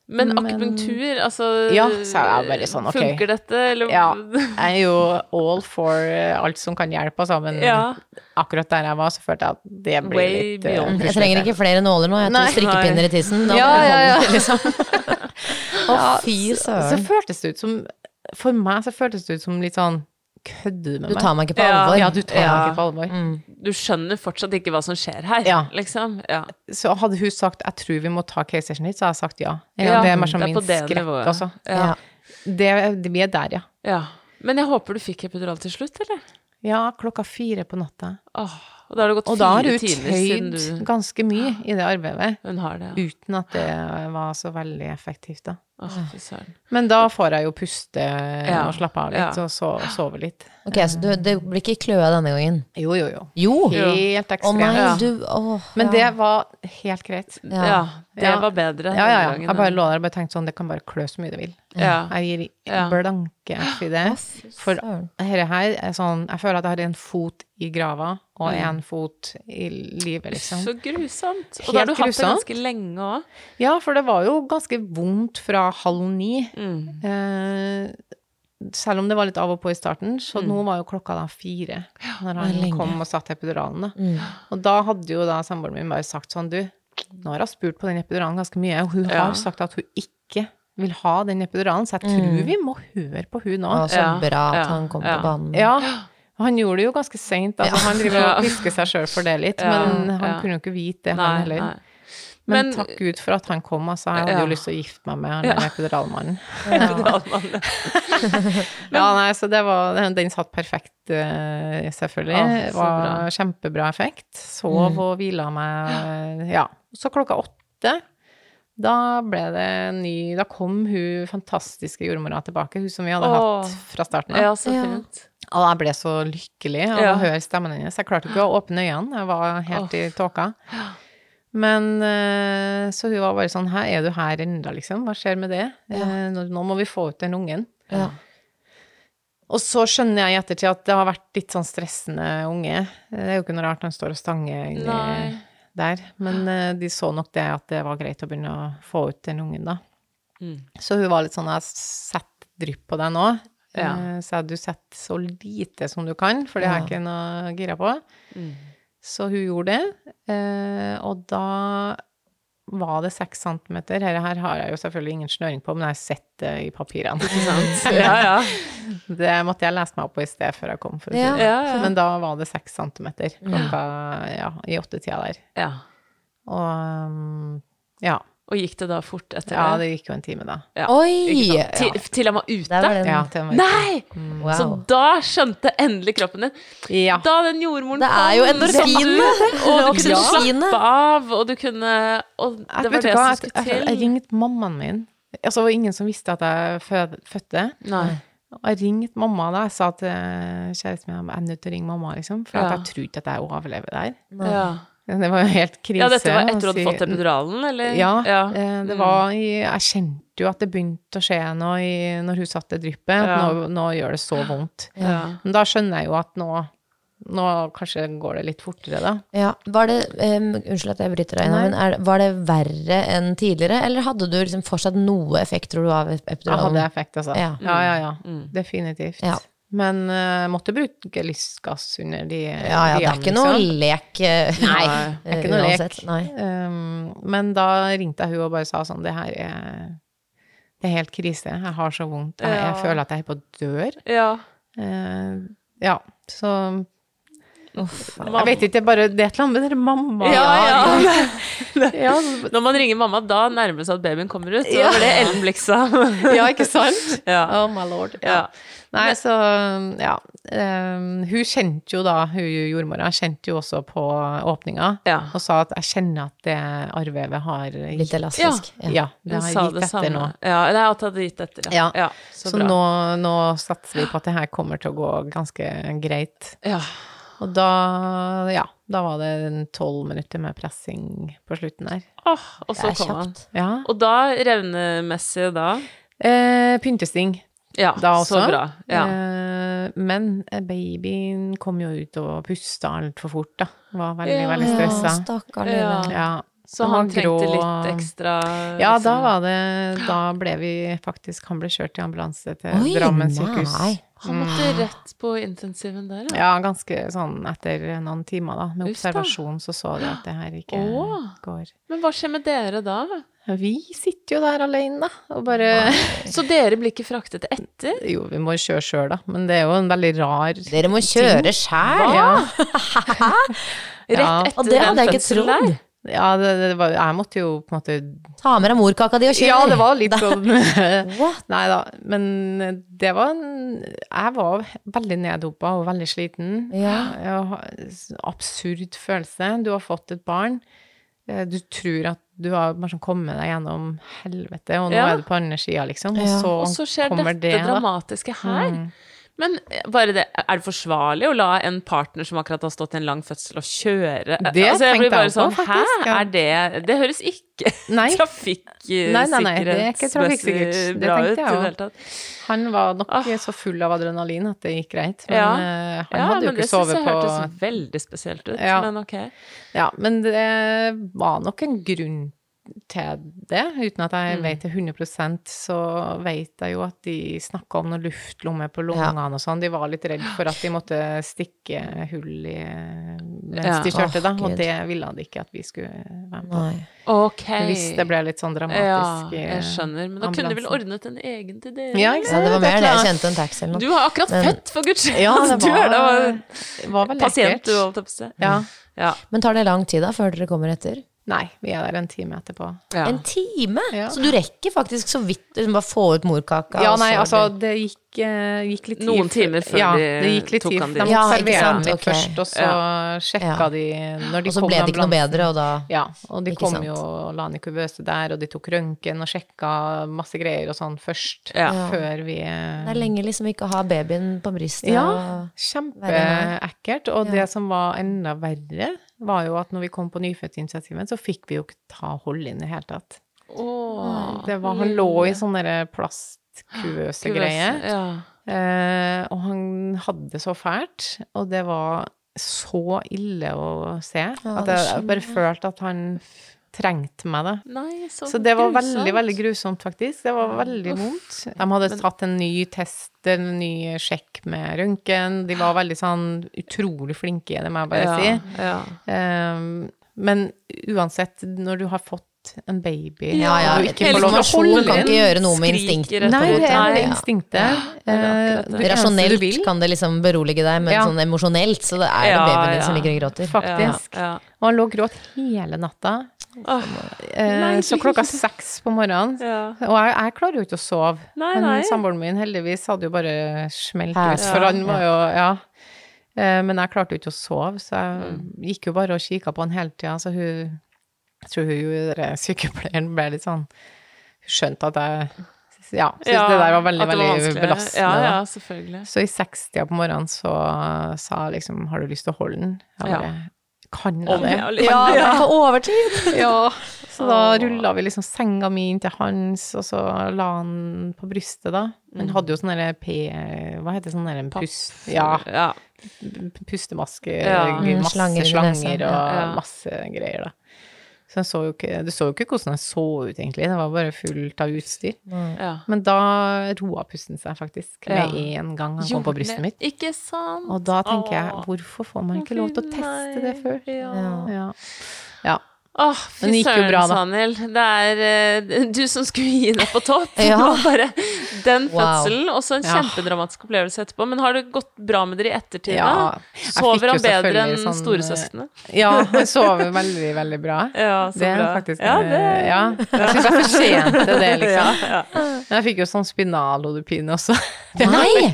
C: Men
D: Men-
C: akupunktur, altså
D: Ja, så er jeg bare sånn, ok.
C: Funker dette, eller
D: Ja. Jeg er jo all for eh, alt som kan hjelpe, altså, men
C: Ja.
D: akkurat der jeg var, så følte jeg at det ble
C: Way
D: litt eh,
C: beyond.
E: Mm. Jeg trenger ikke flere nåler nå. Jeg har
D: Nei.
E: to strikkepinner i tissen. Da
D: Ja,
E: må det
D: ja, ja.
E: holde, Liksom. Å, fy
D: Så
E: søren.
D: føltes det ut som For meg så føltes det ut som litt sånn Kødder du med
E: Du
D: meg?
E: tar meg ikke på
C: Ja.
E: alvor.
D: Ja, Mm. du tar meg
C: Ja.
D: ikke på alvor.
C: Du skjønner fortsatt ikke hva som skjer her,
D: Ja.
C: liksom. Ja.
D: Så hadde hun sagt 'jeg tror vi må ta keisersnitt', så hadde jeg sagt ja.
C: Ja,
D: det er mer som
C: det er
D: min
C: på det
D: skrekk,
C: nivået.
D: altså.
E: Ja.
D: Det, det, vi er der, ja.
C: ja. Men jeg håper du fikk epidural til slutt, eller?
D: Ja, klokka fire på natta.
C: Åh, og da har det gått
D: Og da har
C: fire
D: hun
C: timer siden
D: tøyd
C: du
D: ganske mye i det arbeidet,
C: Hun har det, ja.
D: uten at det var så veldig effektivt, da.
C: Åh, fy søren.
D: Men da får jeg jo puste
C: Ja,
D: og slappe av litt,
C: ja.
D: og so sove litt.
E: Ok, så du, det blir ikke kløe denne gangen?
D: Jo, jo, jo.
E: Jo! Å
D: Helt ekstremt.
E: nei,
D: Ja.
E: du å,
D: Men det
E: ja.
D: var helt greit.
C: Ja, det
D: Ja.
C: var bedre.
D: Ja, ja, ja.
C: denne gangen,
D: Jeg bare lå der og bare tenkte sånn, det kan bare klø så mye det vil.
C: Ja.
D: Jeg gir
C: Ja.
D: blanke F i det. For
E: søren.
D: dette her er sånn Jeg føler at jeg har en fot i grava og en fot i livet, liksom.
C: Mm. Så grusomt. Og
D: Helt
C: da har du hatt det
D: grusomt.
C: ganske lenge òg.
D: Ja, for det var jo ganske vondt fra halv ni.
C: Mm.
D: Eh, selv om det var litt av og på i starten, så
C: Mm.
D: nå var jo klokka da fire når han
E: lenge.
D: kom og satte epiduralen. Da.
C: Mm.
D: Og da hadde jo da samboeren min bare sagt sånn, du, nå har jeg spurt på den epiduralen ganske mye, og hun har sagt at hun ikke vil ha den epiduralen, så jeg tror vi må høre på hun nå.
E: Å, så
C: Mm. Ja,
E: bra at
C: ja,
E: han kom
C: ja.
E: på banen.
D: Ja. Han gjorde det jo ganske seint. Altså, Han driver
C: Ja.
D: og pisker seg sjøl for det litt, men han
C: ja.
D: kunne jo ikke vite det, han
C: Nei,
D: heller.
C: nei.
D: Men,
C: Men-
D: takk Gud for at han kom, altså. Jeg hadde
C: Ja.
D: jo lyst til å gifte meg med han ja. epiduralmannen.
C: Epiduralmannen.
D: Ja, nei, så det var Den, den satt perfekt, eh, selvfølgelig.
C: Å, så Mm.
D: Det var kjempebra effekt. Sov og hvila meg eh, Ja. Så klokka åtte da ble det en ny Da kom hun fantastiske jordmora tilbake, hun som vi hadde
C: Å.
D: hatt fra starten av.
C: Ja, så fint.
D: Og jeg ble så lykkelig av
C: Ja.
D: å høre stemmen hennes. Jeg klarte ikke å åpne øynene, jeg var helt i tåka. Men eh, så hun var bare sånn Hæ, er du her ennå, liksom? Hva skjer med det? Eh, Nå, nå må vi få ut den ungen.
E: Ja.
D: Og så skjønner jeg i ettertid at det har vært litt sånn stressende unge. Det er jo ikke noe rart han står og stanger inni
C: Nei.
D: der. Men eh, de så nok det at det var greit å begynne å få ut den ungen, da.
C: Mm.
D: Så hun var litt sånn Jeg setter drypp på deg nå.
C: Ja.
D: Eh, Så jeg, du setter så lite som du kan, for det har jeg ikke noe
C: Mm.
D: gira på. Så hun gjorde det. eh, Og da var det seks centimeter? Dette her har jeg jo selvfølgelig ingen snøring på, men jeg har sett det i papirene.
C: Ja, ja.
D: Det måtte jeg lese meg opp på i sted før jeg kom. For å si
E: Ja.
D: det.
C: Ja, ja.
D: Men da var det seks centimeter klokka ja, i åttetida der.
C: ja.
D: Og um, ja.
C: Og gikk det da fort etter
D: ja, det gikk jo en time da.
C: Ja,
E: Oi!
C: ikke sant? Til, til han var ute?
E: Der var den.
D: Ja, til den var-
C: Nei!
E: Wow.
C: Så da skjønte endelig kroppen din.
D: Ja.
C: Da den jordmoren
E: Det er jo endorfinene.
C: så- Og du kunne
E: Endorfinene.
C: slappe av, og du kunne Og det
D: Jeg,
C: var
D: vet du
C: det
D: hva,
C: som
D: jeg,
C: skulle
D: jeg, jeg
C: til.
D: ringte mammaen min. Altså, det var ingen som visste at jeg fød, fødte.
C: Nei.
D: Og jeg ringte mamma da. Jeg sa til kjæresten min jeg er nødt til å ringe mamma, liksom. For
C: Ja.
D: at jeg trodde ikke at jeg overlever det her.
C: Ja.
D: Det var jo helt krise.
C: ja, dette var etter du
D: å
C: hadde
D: si-
C: fått epiduralen, eller?
D: Ja. eh,
C: Mm.
D: Det var i, jeg kjente jo at det begynte å skje noe i, når hun satte dryppet. at
C: Ja.
D: Nå, nå gjør det så vondt.
C: ja.
D: Men da skjønner jeg jo at nå, nå kanskje går det litt fortere, da.
E: Ja, var det, em, unnskyld at jeg bryter deg inn, men er, det- var det verre enn tidligere, eller hadde du liksom fortsatt noe effekt, tror du, av
D: Jeg hadde
E: epiduralen?
D: effekt, altså.
E: Ja.
D: ja, ja. ja.
C: Mm.
D: Definitivt.
E: Ja.
D: Men eh, måtte bruke lystgass under de
E: Ja, ja, det er
D: de
E: ikke noe
D: liksom.
E: lek. eh,
D: Nei, det er ikke noe lek.
E: uansett, Nei.
D: Um, men da ringte jeg hun og bare sa sånn, det her er, det er helt krise. Jeg har så vondt. Jeg, jeg
C: Ja.
D: føler at jeg er på dør.
C: ja.
D: Eh, ja, så
E: Uff,
D: Jeg vet ikke, det er bare det er et eller annet med dere mamma.
C: Ja, ja. Når man ringer mamma, da nærmer det seg at babyen kommer ut. Og det var det Ellen Blix sa.
D: Ja, ikke sant?
C: Ja.
D: Oh my lord. Ja.
C: Ja.
D: Nei, så ja. Um, hun kjente jo da, hun jordmora, kjente jo også på åpninga
C: Ja.
D: og sa at jeg kjenner at det arrvevet har
E: Litt elastisk.
D: Ja, det
C: Hun
D: har
C: sa det
D: gitt etter
C: samme.
D: nå.
C: Ja, det er at det hadde gitt etter.
D: Ja.
C: så
D: Så,
C: bra.
D: nå, nå satser vi på at det her kommer til å gå ganske greit.
C: Ja.
D: Og da, ja, da var det en tolv minutter med pressing på slutten der.
C: Åh, og så
E: Det er
C: kom han.
E: kjapt.
D: Ja.
C: Og da, revnemessig da
D: Eh, pyntesting
C: Ja,
D: da også.
C: så bra. Ja.
D: Eh, men eh, babyen kom jo ut og pusta altfor fort, da. Var veldig,
C: Ja.
D: veldig stressa.
E: Ja, stakkar
C: Ja.
E: lille.
D: Ja.
C: Så
D: Den
C: han
D: var
C: trengte
D: grå.
C: litt ekstra
D: Ja, da
C: liksom.
D: var det Da ble vi faktisk Han ble kjørt i ambulanse til
E: Oi,
D: Drammen
E: nei.
D: sykehus.
C: Han måtte
D: Mm.
C: rett på intensiven der, ja.
D: Ja, ganske sånn etter noen timer, da. Med
C: Uff da.
D: observasjon så så de at det her ikke
C: Åh.
D: går.
C: Men hva skjer med dere da?
D: Vi sitter jo der alene, da, og bare
C: Så dere blir ikke fraktet etter?
D: Jo, vi må kjøre sjøl, da, men det er jo en veldig rar
E: Dere må kjøre sjæl!
D: Ja,
C: Rett
D: Ja.
C: etter
E: Og det hadde jeg ikke
C: fødselen
E: trodd.
C: der?
D: ja det, det var, jeg måtte jo på en måte
E: Ta med deg morkaka di og kjør!
D: Ja, det var litt sånn
E: What?
D: Nei da, men det var en Jeg var veldig neddoppa og veldig sliten.
E: Ja.
D: Jeg har- Absurd følelse. Du har fått et barn. Eh, Du tror at du har bare sånn kommet deg gjennom helvete, og nå
C: Ja.
D: er du på andre sida, liksom.
E: Ja.
D: Og
C: Og så
D: så
C: skjer
D: kommer
C: dette
D: det, da. Mm.
C: dramatiske her. Men eh, bare det, er det forsvarlig å la en partner som akkurat har stått i en lang fødsel, å kjøre? Eh,
D: Det
C: jeg
D: tenkte
C: blir bare
D: jeg på,
C: sånn,
D: faktisk,
C: Hæ?
D: ja.
C: Er det Det høres ikke
D: Nei. Nei, nei, nei, det er ikke
C: trafikksikkerhetsmessig
D: trafikksikkert. Det
C: bra
D: tenkte
C: ut i det
D: jeg også. Sånn,
C: hele tatt.
D: Han var nok så full av adrenalin at det gikk greit,
C: Ah.
D: men
C: Ja.
D: eh, han
C: ja,
D: hadde jo
C: men
D: ikke
C: det synes
D: sovet
C: jeg
D: på
C: hørtes veldig spesielt ut.
D: Ja.
C: Men ok.
D: Ja, men det var nok en grunn til det. Uten at
C: Mm.
D: jeg vet det 100 så vet jeg jo at de snakka om noen luftlomme på lungene og sånn. De var litt redd for at de måtte stikke hull i mens
C: Ja.
D: de kjørte,
E: Åh,
D: da.
E: Gud.
D: Og det ville de ikke at vi skulle være med på.
E: Nei.
C: Ok.
D: Hvis det ble litt sånn
C: Ja,
D: dramatisk. i
C: jeg skjønner. Men da kunne du vel
D: ambulansen.
C: ordnet en egen til dere?
D: Ja,
C: eller?
D: ikke
E: Ja,
D: sant?
E: det var
D: er
E: mer det. Jeg
D: klart.
E: kjente en taxi eller noe.
C: Du har akkurat
E: Men-
C: født, for guds skyld!
D: Ja, det
C: du er da
D: var, var Mm. veldig
C: pasient,
D: ekkelt.
C: du, holdt jeg på å si.
D: Ja.
C: Ja.
E: Men tar det lang tid da, før dere kommer etter?
D: Nei, vi er der en time etterpå.
C: Ja.
E: En time?
D: Ja.
E: Så du rekker faktisk så vidt liksom, bare få ut morkaka?
D: Ja,
E: og
D: nei,
E: så-
D: altså, det gikk, eh, gikk litt tid.
C: Noen timer før
D: ja,
C: de
D: det gikk litt
C: tok
D: tid.
C: han
D: De
C: dit.
D: måtte
E: Ja, ikke
D: servere
E: sant,
D: han litt
E: ok.
D: først, og så sjekka
E: Ja.
D: de når de
E: Og så
D: kom
E: ble
D: med
E: det ikke noe
D: ambulansen.
E: bedre, og da
D: Ja, og de
E: Ikke
D: kom
E: sant.
D: jo og la han i kuvøse der, og de tok røntgen og sjekka masse greier og sånn først,
C: Ja.
D: før vi eh,
E: Det er lenge liksom ikke å ha babyen på brystet.
D: ja,
E: og-
D: kjempeekkelt. Og det som var enda verre, var jo at når vi kom på nyfødtinitiativet, så fikk vi jo ikke ta hold inn i det hele tatt. Det var, han lå i sånn derre plastkuvøse greie.
C: Ja.
D: Eh, og han hadde det så fælt, og det var så ille å se at jeg, jeg bare følte at han trengte meg, da.
C: Nei, så,
D: Så det var
C: grusomt.
D: veldig, veldig grusomt, faktisk. Det var veldig vondt. De hadde tatt en ny test, en ny sjekk med røntgen. De var veldig sånn utrolig flinke, det må jeg bare
C: ja,
D: si.
C: ja.
D: Eh, men uansett, Ehm, når du har fått rundt en baby.
E: Ja, ja.
D: og
E: Hele
D: Ikke få lov til å
E: informasjonen
D: holde
E: kan
D: inn.
E: ikke gjøre noe med
C: instinktet.
E: instinktet.
D: Nei, det er det
E: ja.
D: instinktet.
C: det er
D: Eh,
C: akkurat det.
D: eneste du
E: Rasjonelt
D: vil,
E: kan det liksom berolige deg, men
D: Ja.
E: sånn emosjonelt, så det er det
C: Ja,
E: babyen din som
C: ja.
E: ligger og gråter.
D: Faktisk.
C: Ja, ja.
D: Og han lå og gråt hele natta. Eh,
C: Nei.
D: så klokka seks på morgenen.
C: Ja.
D: Og jeg, jeg klarer jo ikke å sove.
C: Nei,
D: men
C: nei.
D: samboeren min heldigvis hadde jo bare smelt
E: Her.
D: ut, for han var jo Ja. Eh, Men jeg klarte jo ikke å sove, så jeg
C: Mm.
D: gikk jo bare og kikka på han hele tida. Så hun Jeg tror hun den der sykepleieren ble litt sånn Hun skjønte at jeg Ja, syntes
C: Ja,
D: det der var veldig,
C: at det var
D: veldig
C: vanskelig.
D: belastende.
C: Ja,
D: da.
C: ja, selvfølgelig.
D: Så i sekstida på morgenen så sa jeg liksom Har du lyst til å holde den? Jeg
C: Ja.
D: bare, Kan jeg
C: Om
D: det?
C: jeg
E: Ja,
C: lever.
E: på overtid!
D: Ja. Så da rulla vi liksom senga mi inn til hans, og så la han på brystet, da. Han hadde jo sånn derre P... Hva heter sånn derre pust... Ja.
C: Ja.
D: Pustemaske,
C: Ja.
D: gud,
E: Mm,
D: masse
E: slanger i
D: slanger,
E: nesa.
D: og
C: Ja.
D: masse greier, da. Så han så jo ikke Du så jo ikke hvordan han så ut, egentlig. Det var bare fullt av utstyr.
C: ja.
D: Men da roa pusten seg faktisk med
C: Ja.
D: en gang han kom på brystet mitt.
C: Ikke sant?
D: Og da tenker jeg,
C: Åh.
D: hvorfor får man ikke lov til å teste det før?
C: Ja.
D: Ja. ja.
C: Åh,
D: Men
C: fy
D: det gikk jo
C: søren,
D: bra, da.
C: Sanel. Det er eh, du som skulle gi deg på topp.
E: Ja.
C: Det var bare den
E: Wow.
C: fødselen, og så en
D: Ja.
C: kjempedramatisk opplevelse etterpå. Men har det gått bra med dere i ettertid,
D: Ja.
C: da?
D: Jeg fikk
C: Sover
D: jo
C: han bedre enn
D: selvfølgelig sånn,
C: storesøstrene?
D: ja, jeg sover veldig, veldig bra.
C: Ja, så
D: eh, det er
C: bra.
D: faktisk
C: Ja, det-
D: eh, ja. Jeg syns jeg fortjente det, liksom.
C: Ja, ja.
D: Men jeg fikk jo sånn spinalhodepine også.
E: Nei!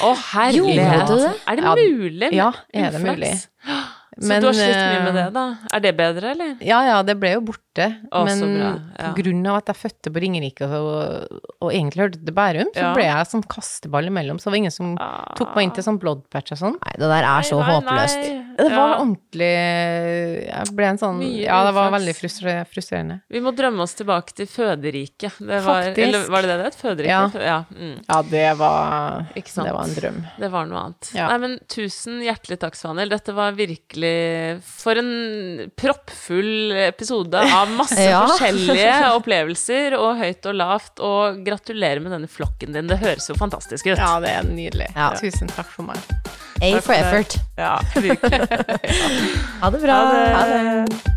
C: Å, herlighet.
E: Gjorde du det?
C: Er det
D: Ja,
C: mulig?
D: ja, er det
C: Uflaks.
D: mulig.
C: Så du har slitt mye med det, da? Er det bedre, eller?
D: Ja, ja, det ble jo borte.
C: Å, så
D: men
C: bra, ja.
D: på grunn av at jeg fødte på Ringerike og, og egentlig hørte til Bærum, så
C: Ja. Ah.
D: ble jeg sånn kasteball imellom. Så det var ingen som tok meg inn til sånn bloodpatch og sånn.
E: Nei, det der er så
C: Nei, nei,
E: håpløst.
C: nei.
D: Det var
C: Ja.
D: ordentlig Jeg ble en sånn
C: Mye
D: Ja, det var
C: uflaks.
D: veldig frustre- frustrerende.
C: Vi må drømme oss tilbake til føderiket. Det var,
D: Faktisk.
C: eller var det det det het? Føderiket?
D: Ja.
C: Fø- ja mm.
D: Ja, det var
C: Ikke sant?
D: Det var en drøm.
C: Det var noe annet.
D: Ja.
C: Nei, men tusen hjertelig takk, Svanhild. Dette var virkelig For en proppfull episode av masse
E: Ja.
C: forskjellige opplevelser, og høyt og lavt, og gratulerer med denne flokken din. Det høres jo fantastisk ut.
D: Ja, det er nydelig.
E: Ja.
D: Tusen takk for meg.
E: A for effort.
C: Ja, virkelig.
E: Ha det bra.
C: Ha det.
E: Ha det.